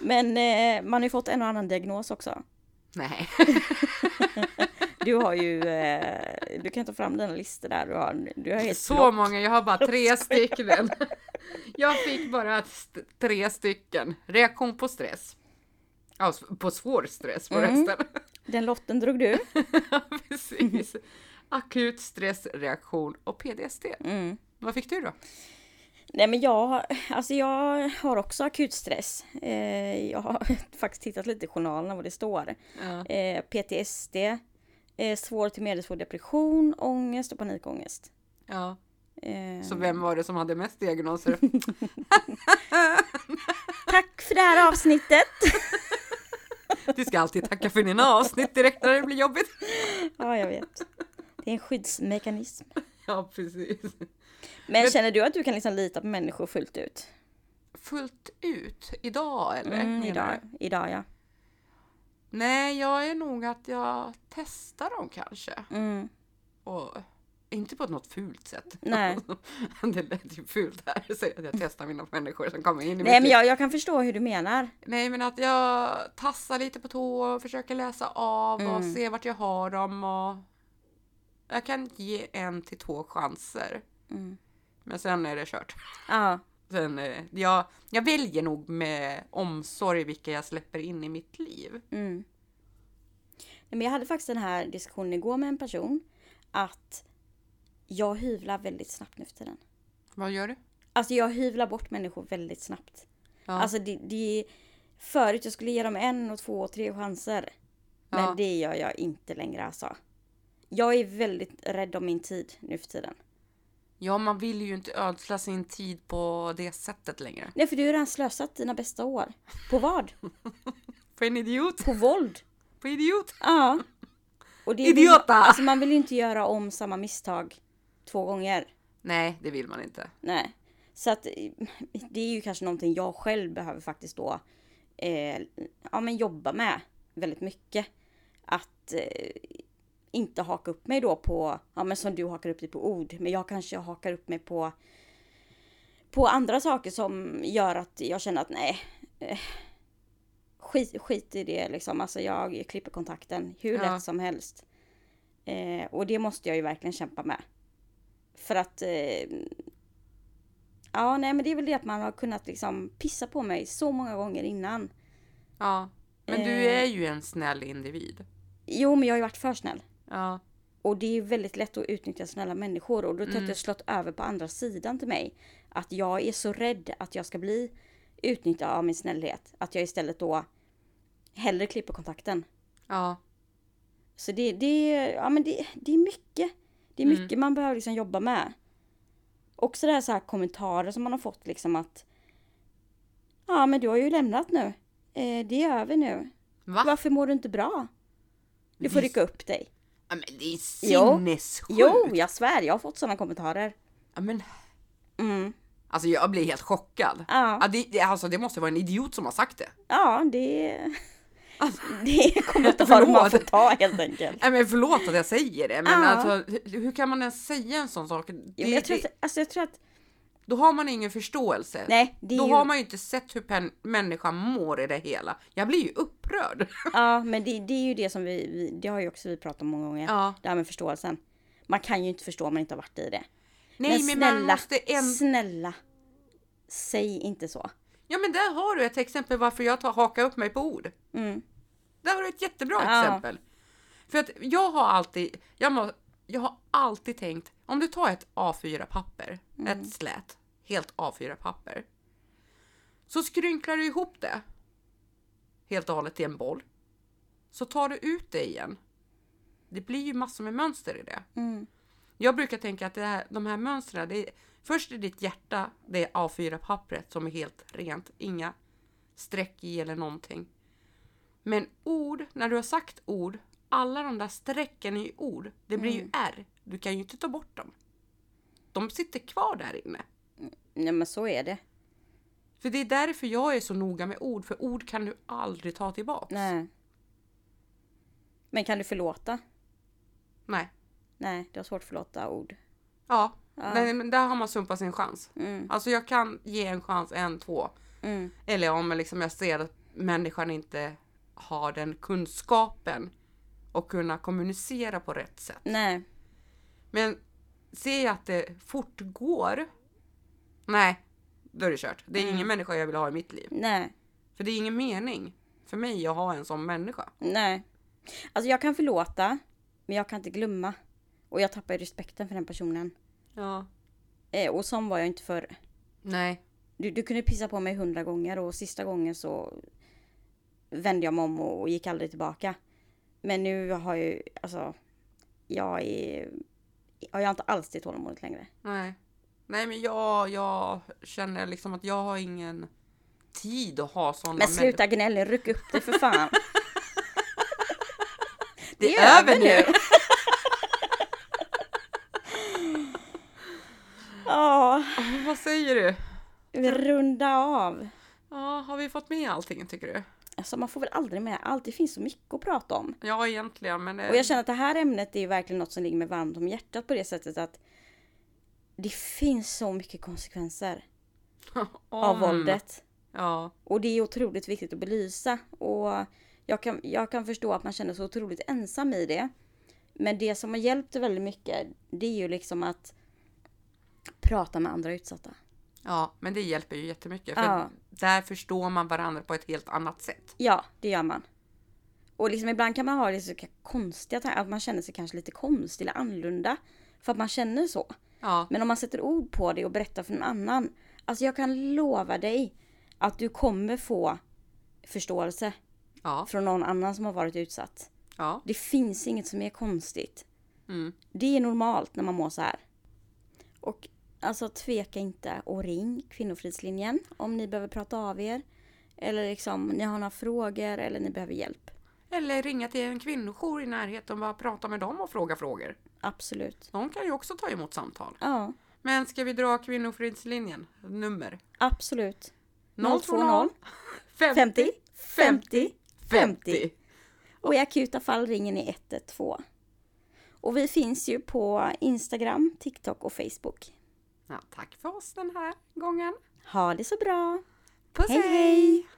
[SPEAKER 2] Men eh, man har ju fått en och annan diagnos också.
[SPEAKER 1] Nej.
[SPEAKER 2] Du har ju, eh, du kan ta fram dina listor där. Du har, du har helt
[SPEAKER 1] Så
[SPEAKER 2] block.
[SPEAKER 1] många, jag har bara tre stycken. Jag fick bara st- tre stycken. Reaktion på stress. Ja, s- på svår stress förresten.
[SPEAKER 2] Den lotten drog du.
[SPEAKER 1] Ja, Precis. Akut stressreaktion och PTSD.
[SPEAKER 2] Mm.
[SPEAKER 1] Vad fick du då?
[SPEAKER 2] Nej men jag, alltså jag har också akut stress. Eh, jag har faktiskt tittat lite i journalerna vad det står.
[SPEAKER 1] Ja.
[SPEAKER 2] Eh, PTSD, eh, svår till medelsvår depression, ångest och panikångest. Eh,
[SPEAKER 1] Så vem var det som hade mest diagnoser?
[SPEAKER 2] tack för det här avsnittet!
[SPEAKER 1] Du ska alltid tacka för dina avsnitt direkt när det blir jobbigt.
[SPEAKER 2] ja, jag vet. Det är en skyddsmekanism.
[SPEAKER 1] Ja, precis.
[SPEAKER 2] Men känner du att du kan liksom lita på människor fullt ut?
[SPEAKER 1] Fullt ut idag eller?
[SPEAKER 2] Mm,
[SPEAKER 1] menar du?
[SPEAKER 2] idag, idag ja.
[SPEAKER 1] Nej, jag är nog att jag testar dem kanske.
[SPEAKER 2] Mm.
[SPEAKER 1] Och inte på något fult sätt.
[SPEAKER 2] Nej.
[SPEAKER 1] det lät ju fult här. Så att jag testar mina människor som kommer in i mitt
[SPEAKER 2] Nej men
[SPEAKER 1] liv.
[SPEAKER 2] jag, jag kan förstå hur du menar.
[SPEAKER 1] Nej, men att jag tassar lite på tå och försöker läsa av och
[SPEAKER 2] Mm.
[SPEAKER 1] se vart jag har dem. Och jag kan ge en till två chanser.
[SPEAKER 2] Mm.
[SPEAKER 1] Men sen är det kört.
[SPEAKER 2] Ja,
[SPEAKER 1] Sen, eh, jag, jag väljer nog med omsorg vilka jag släpper in i mitt liv.
[SPEAKER 2] Mm. Nej, Men jag hade faktiskt den här diskussionen igår med en person. Att jag hyvlar väldigt snabbt nu för tiden.
[SPEAKER 1] Vad gör du?
[SPEAKER 2] Alltså jag hyvlar bort människor väldigt snabbt.
[SPEAKER 1] Ja.
[SPEAKER 2] Alltså det, det Förut jag skulle ge dem en och två och tre chanser. Men
[SPEAKER 1] Ja.
[SPEAKER 2] det gör jag inte längre alltså. Jag är väldigt rädd om min tid nu för tiden.
[SPEAKER 1] ja, man vill ju inte ödsla sin tid på det sättet längre.
[SPEAKER 2] Nej för du har redan slösat dina bästa år. På vad?
[SPEAKER 1] För en idiot!
[SPEAKER 2] På våld.
[SPEAKER 1] På idiot!
[SPEAKER 2] Ja. Och det vill,
[SPEAKER 1] Idiota!
[SPEAKER 2] alltså man vill ju inte göra om samma misstag två gånger.
[SPEAKER 1] Nej, det vill man inte.
[SPEAKER 2] Nej. Så att eh, det är ju kanske någonting jag själv behöver faktiskt då eh, ja, men jobba med väldigt mycket. Att eh, inte haka upp mig då på, ja men som du hakar upp dig på ord, men jag kanske hakar upp mig på på andra saker som gör att jag känner att nej, eh, skit, skit i det liksom. Alltså jag klipper kontakten hur
[SPEAKER 1] Ja.
[SPEAKER 2] lätt som helst. Eh, och det måste jag ju verkligen kämpa med. För att eh, Ja, nej men det är väl det att man har kunnat liksom pissa på mig så många gånger innan.
[SPEAKER 1] Ja. Men du
[SPEAKER 2] Eh.
[SPEAKER 1] är ju en snäll individ.
[SPEAKER 2] Jo, men jag har ju varit för snäll.
[SPEAKER 1] Ja.
[SPEAKER 2] Och det är ju väldigt lätt att utnyttja snälla människor och då tror jag att
[SPEAKER 1] Mm.
[SPEAKER 2] jag slått över på andra sidan till mig. Att jag är så rädd att jag ska bli utnyttjad av min snällhet. Att jag istället då hellre klipper kontakten.
[SPEAKER 1] Ja.
[SPEAKER 2] Så det, det, är- ja, men det, det är mycket. Det är
[SPEAKER 1] Mm.
[SPEAKER 2] mycket man behöver liksom jobba med. Också det här, så här kommentarer som man har fått liksom att Ja men du har ju lämnat nu. Eh, det är över nu.
[SPEAKER 1] Va?
[SPEAKER 2] Varför mår du inte bra? Du får
[SPEAKER 1] Visst.
[SPEAKER 2] rycka upp dig.
[SPEAKER 1] Ja, men det är
[SPEAKER 2] Jo.
[SPEAKER 1] sinnessjukt!
[SPEAKER 2] Jo, jag svär, jag har fått sådana kommentarer.
[SPEAKER 1] Ja, men,
[SPEAKER 2] Mm.
[SPEAKER 1] alltså jag blir helt chockad.
[SPEAKER 2] Ja,
[SPEAKER 1] Ja, det, det, alltså, det måste vara en idiot som har sagt det.
[SPEAKER 2] ja det,
[SPEAKER 1] Alltså,
[SPEAKER 2] det är kommentarer
[SPEAKER 1] Förlåt.
[SPEAKER 2] man får ta helt enkelt.
[SPEAKER 1] nej, men förlåt att jag säger det, men
[SPEAKER 2] Ja.
[SPEAKER 1] alltså, hur, hur kan man ens säga en sån sak? Det,
[SPEAKER 2] Jo, men jag, tror
[SPEAKER 1] det,
[SPEAKER 2] att, alltså, jag tror att,
[SPEAKER 1] då har man ingen förståelse.
[SPEAKER 2] nej, det är
[SPEAKER 1] Då
[SPEAKER 2] ju,
[SPEAKER 1] har man ju inte sett hur pen, människan mår i det hela. Jag blir ju upprörd.
[SPEAKER 2] ja, men det, det är ju det som vi, vi, det har ju också vi pratat om många gånger.
[SPEAKER 1] Ja.
[SPEAKER 2] Det här med förståelsen. Man kan ju inte förstå om man inte har varit i det.
[SPEAKER 1] Nej, men, man måste ändå
[SPEAKER 2] snälla. Säg inte så.
[SPEAKER 1] Ja men där har du ett exempel varför jag tar, hakar upp mig på ord.
[SPEAKER 2] Mm.
[SPEAKER 1] Där har du ett jättebra
[SPEAKER 2] Ja.
[SPEAKER 1] exempel. För att jag har alltid, jag, må, jag har alltid tänkt, om du tar ett A4-papper, ett slät, helt A4-papper. Så skrynklar du ihop det helt och hållet i en boll. Så tar du ut det igen. Det blir ju massor med mönster i det.
[SPEAKER 2] Mm.
[SPEAKER 1] Jag brukar tänka att det här, de här mönstren, det är, först är ditt hjärta, det är A4-pappret som är helt rent, inga streck i eller någonting. Men ord, när du har sagt ord, alla de där strecken i ord, det blir
[SPEAKER 2] Mm.
[SPEAKER 1] ju R. Du kan ju inte ta bort dem. De sitter kvar där inne.
[SPEAKER 2] Nej men så är det.
[SPEAKER 1] För det är därför jag är så noga med ord, för ord kan du aldrig ta tillbaks.
[SPEAKER 2] Nej. Men kan du förlåta?
[SPEAKER 1] Nej.
[SPEAKER 2] Nej, det är svårt att förlåta ord.
[SPEAKER 1] Ja, Nej, men där har man sumpat sin chans.
[SPEAKER 2] Mm.
[SPEAKER 1] Alltså jag kan ge en chans, en, två.
[SPEAKER 2] Mm.
[SPEAKER 1] Eller om liksom jag ser att människan inte har den kunskapen och kunna kommunicera på rätt sätt.
[SPEAKER 2] Nej.
[SPEAKER 1] Men ser jag att det fortgår, nej, då är det kört. Det är ingen människa jag vill ha i mitt liv.
[SPEAKER 2] Nej.
[SPEAKER 1] För det är ingen mening för mig att ha en sån människa.
[SPEAKER 2] Nej. Alltså jag kan förlåta, men jag kan inte glömma. Och jag tappar ju respekten för den personen.
[SPEAKER 1] Ja.
[SPEAKER 2] Eh, och som var jag inte förr.
[SPEAKER 1] Nej.
[SPEAKER 2] Du, du kunde pissa på mig hundra gånger och sista gången så vände jag mig om och, och gick aldrig tillbaka. Men nu har jag ju, alltså, jag är, jag har inte alls det tålamodet längre.
[SPEAKER 1] Nej. Nej men jag, jag känner liksom att jag har ingen tid att ha sådana
[SPEAKER 2] Men sluta gnäll, ryck upp det för fan.
[SPEAKER 1] Det är över nu.
[SPEAKER 2] Ja,
[SPEAKER 1] människor. Vad säger du?
[SPEAKER 2] vi runda av.
[SPEAKER 1] Ja, har vi fått med allting tycker du?
[SPEAKER 2] Alltså man får väl aldrig med allt, det finns så mycket att prata om.
[SPEAKER 1] Ja egentligen men... eh,
[SPEAKER 2] Och jag känner att det här ämnet är ju verkligen något som ligger mig varmt om hjärtat på det sättet att det finns så mycket konsekvenser av
[SPEAKER 1] om-
[SPEAKER 2] våldet.
[SPEAKER 1] Ja.
[SPEAKER 2] Och det är otroligt viktigt att belysa. Och jag kan, jag kan förstå att man känner sig otroligt ensam i det. Men det som har hjälpt väldigt mycket, det är ju liksom att prata med andra utsatta.
[SPEAKER 1] ja, men det hjälper ju jättemycket för
[SPEAKER 2] Ja.
[SPEAKER 1] där förstår man varandra på ett helt annat sätt.
[SPEAKER 2] Ja, det gör man. Och liksom ibland kan man ha lite så konstiga tankar, att man känner sig kanske lite konstig eller annorlunda. För att man känner så.
[SPEAKER 1] Ja,
[SPEAKER 2] Men om man sätter ord på det och berättar för någon annan. Alltså jag kan lova dig att du kommer få förståelse
[SPEAKER 1] ja,
[SPEAKER 2] från någon annan som har varit utsatt.
[SPEAKER 1] ja.
[SPEAKER 2] Det finns inget som är konstigt.
[SPEAKER 1] Mm.
[SPEAKER 2] Det är normalt när man mår så här. Och alltså tveka inte och ring Kvinnofridslinjen om ni behöver prata av er. Eller liksom ni har några frågor eller ni behöver hjälp.
[SPEAKER 1] Eller ringa till en kvinnojour i närheten och bara prata med dem och fråga frågor.
[SPEAKER 2] Absolut.
[SPEAKER 1] De kan ju också ta emot samtal.
[SPEAKER 2] Ja,
[SPEAKER 1] Men ska vi dra Kvinnofridslinjen? Nummer?
[SPEAKER 2] absolut.
[SPEAKER 1] 020
[SPEAKER 2] 50 50
[SPEAKER 1] 50.
[SPEAKER 2] Och i akuta fall ringer ni 112. Och vi finns ju på Instagram, TikTok och Facebook.
[SPEAKER 1] Ja, tack för oss den här gången.
[SPEAKER 2] Ha det så bra!
[SPEAKER 1] Puss
[SPEAKER 2] Hej,
[SPEAKER 1] hej!
[SPEAKER 2] hej.
[SPEAKER 1] hej.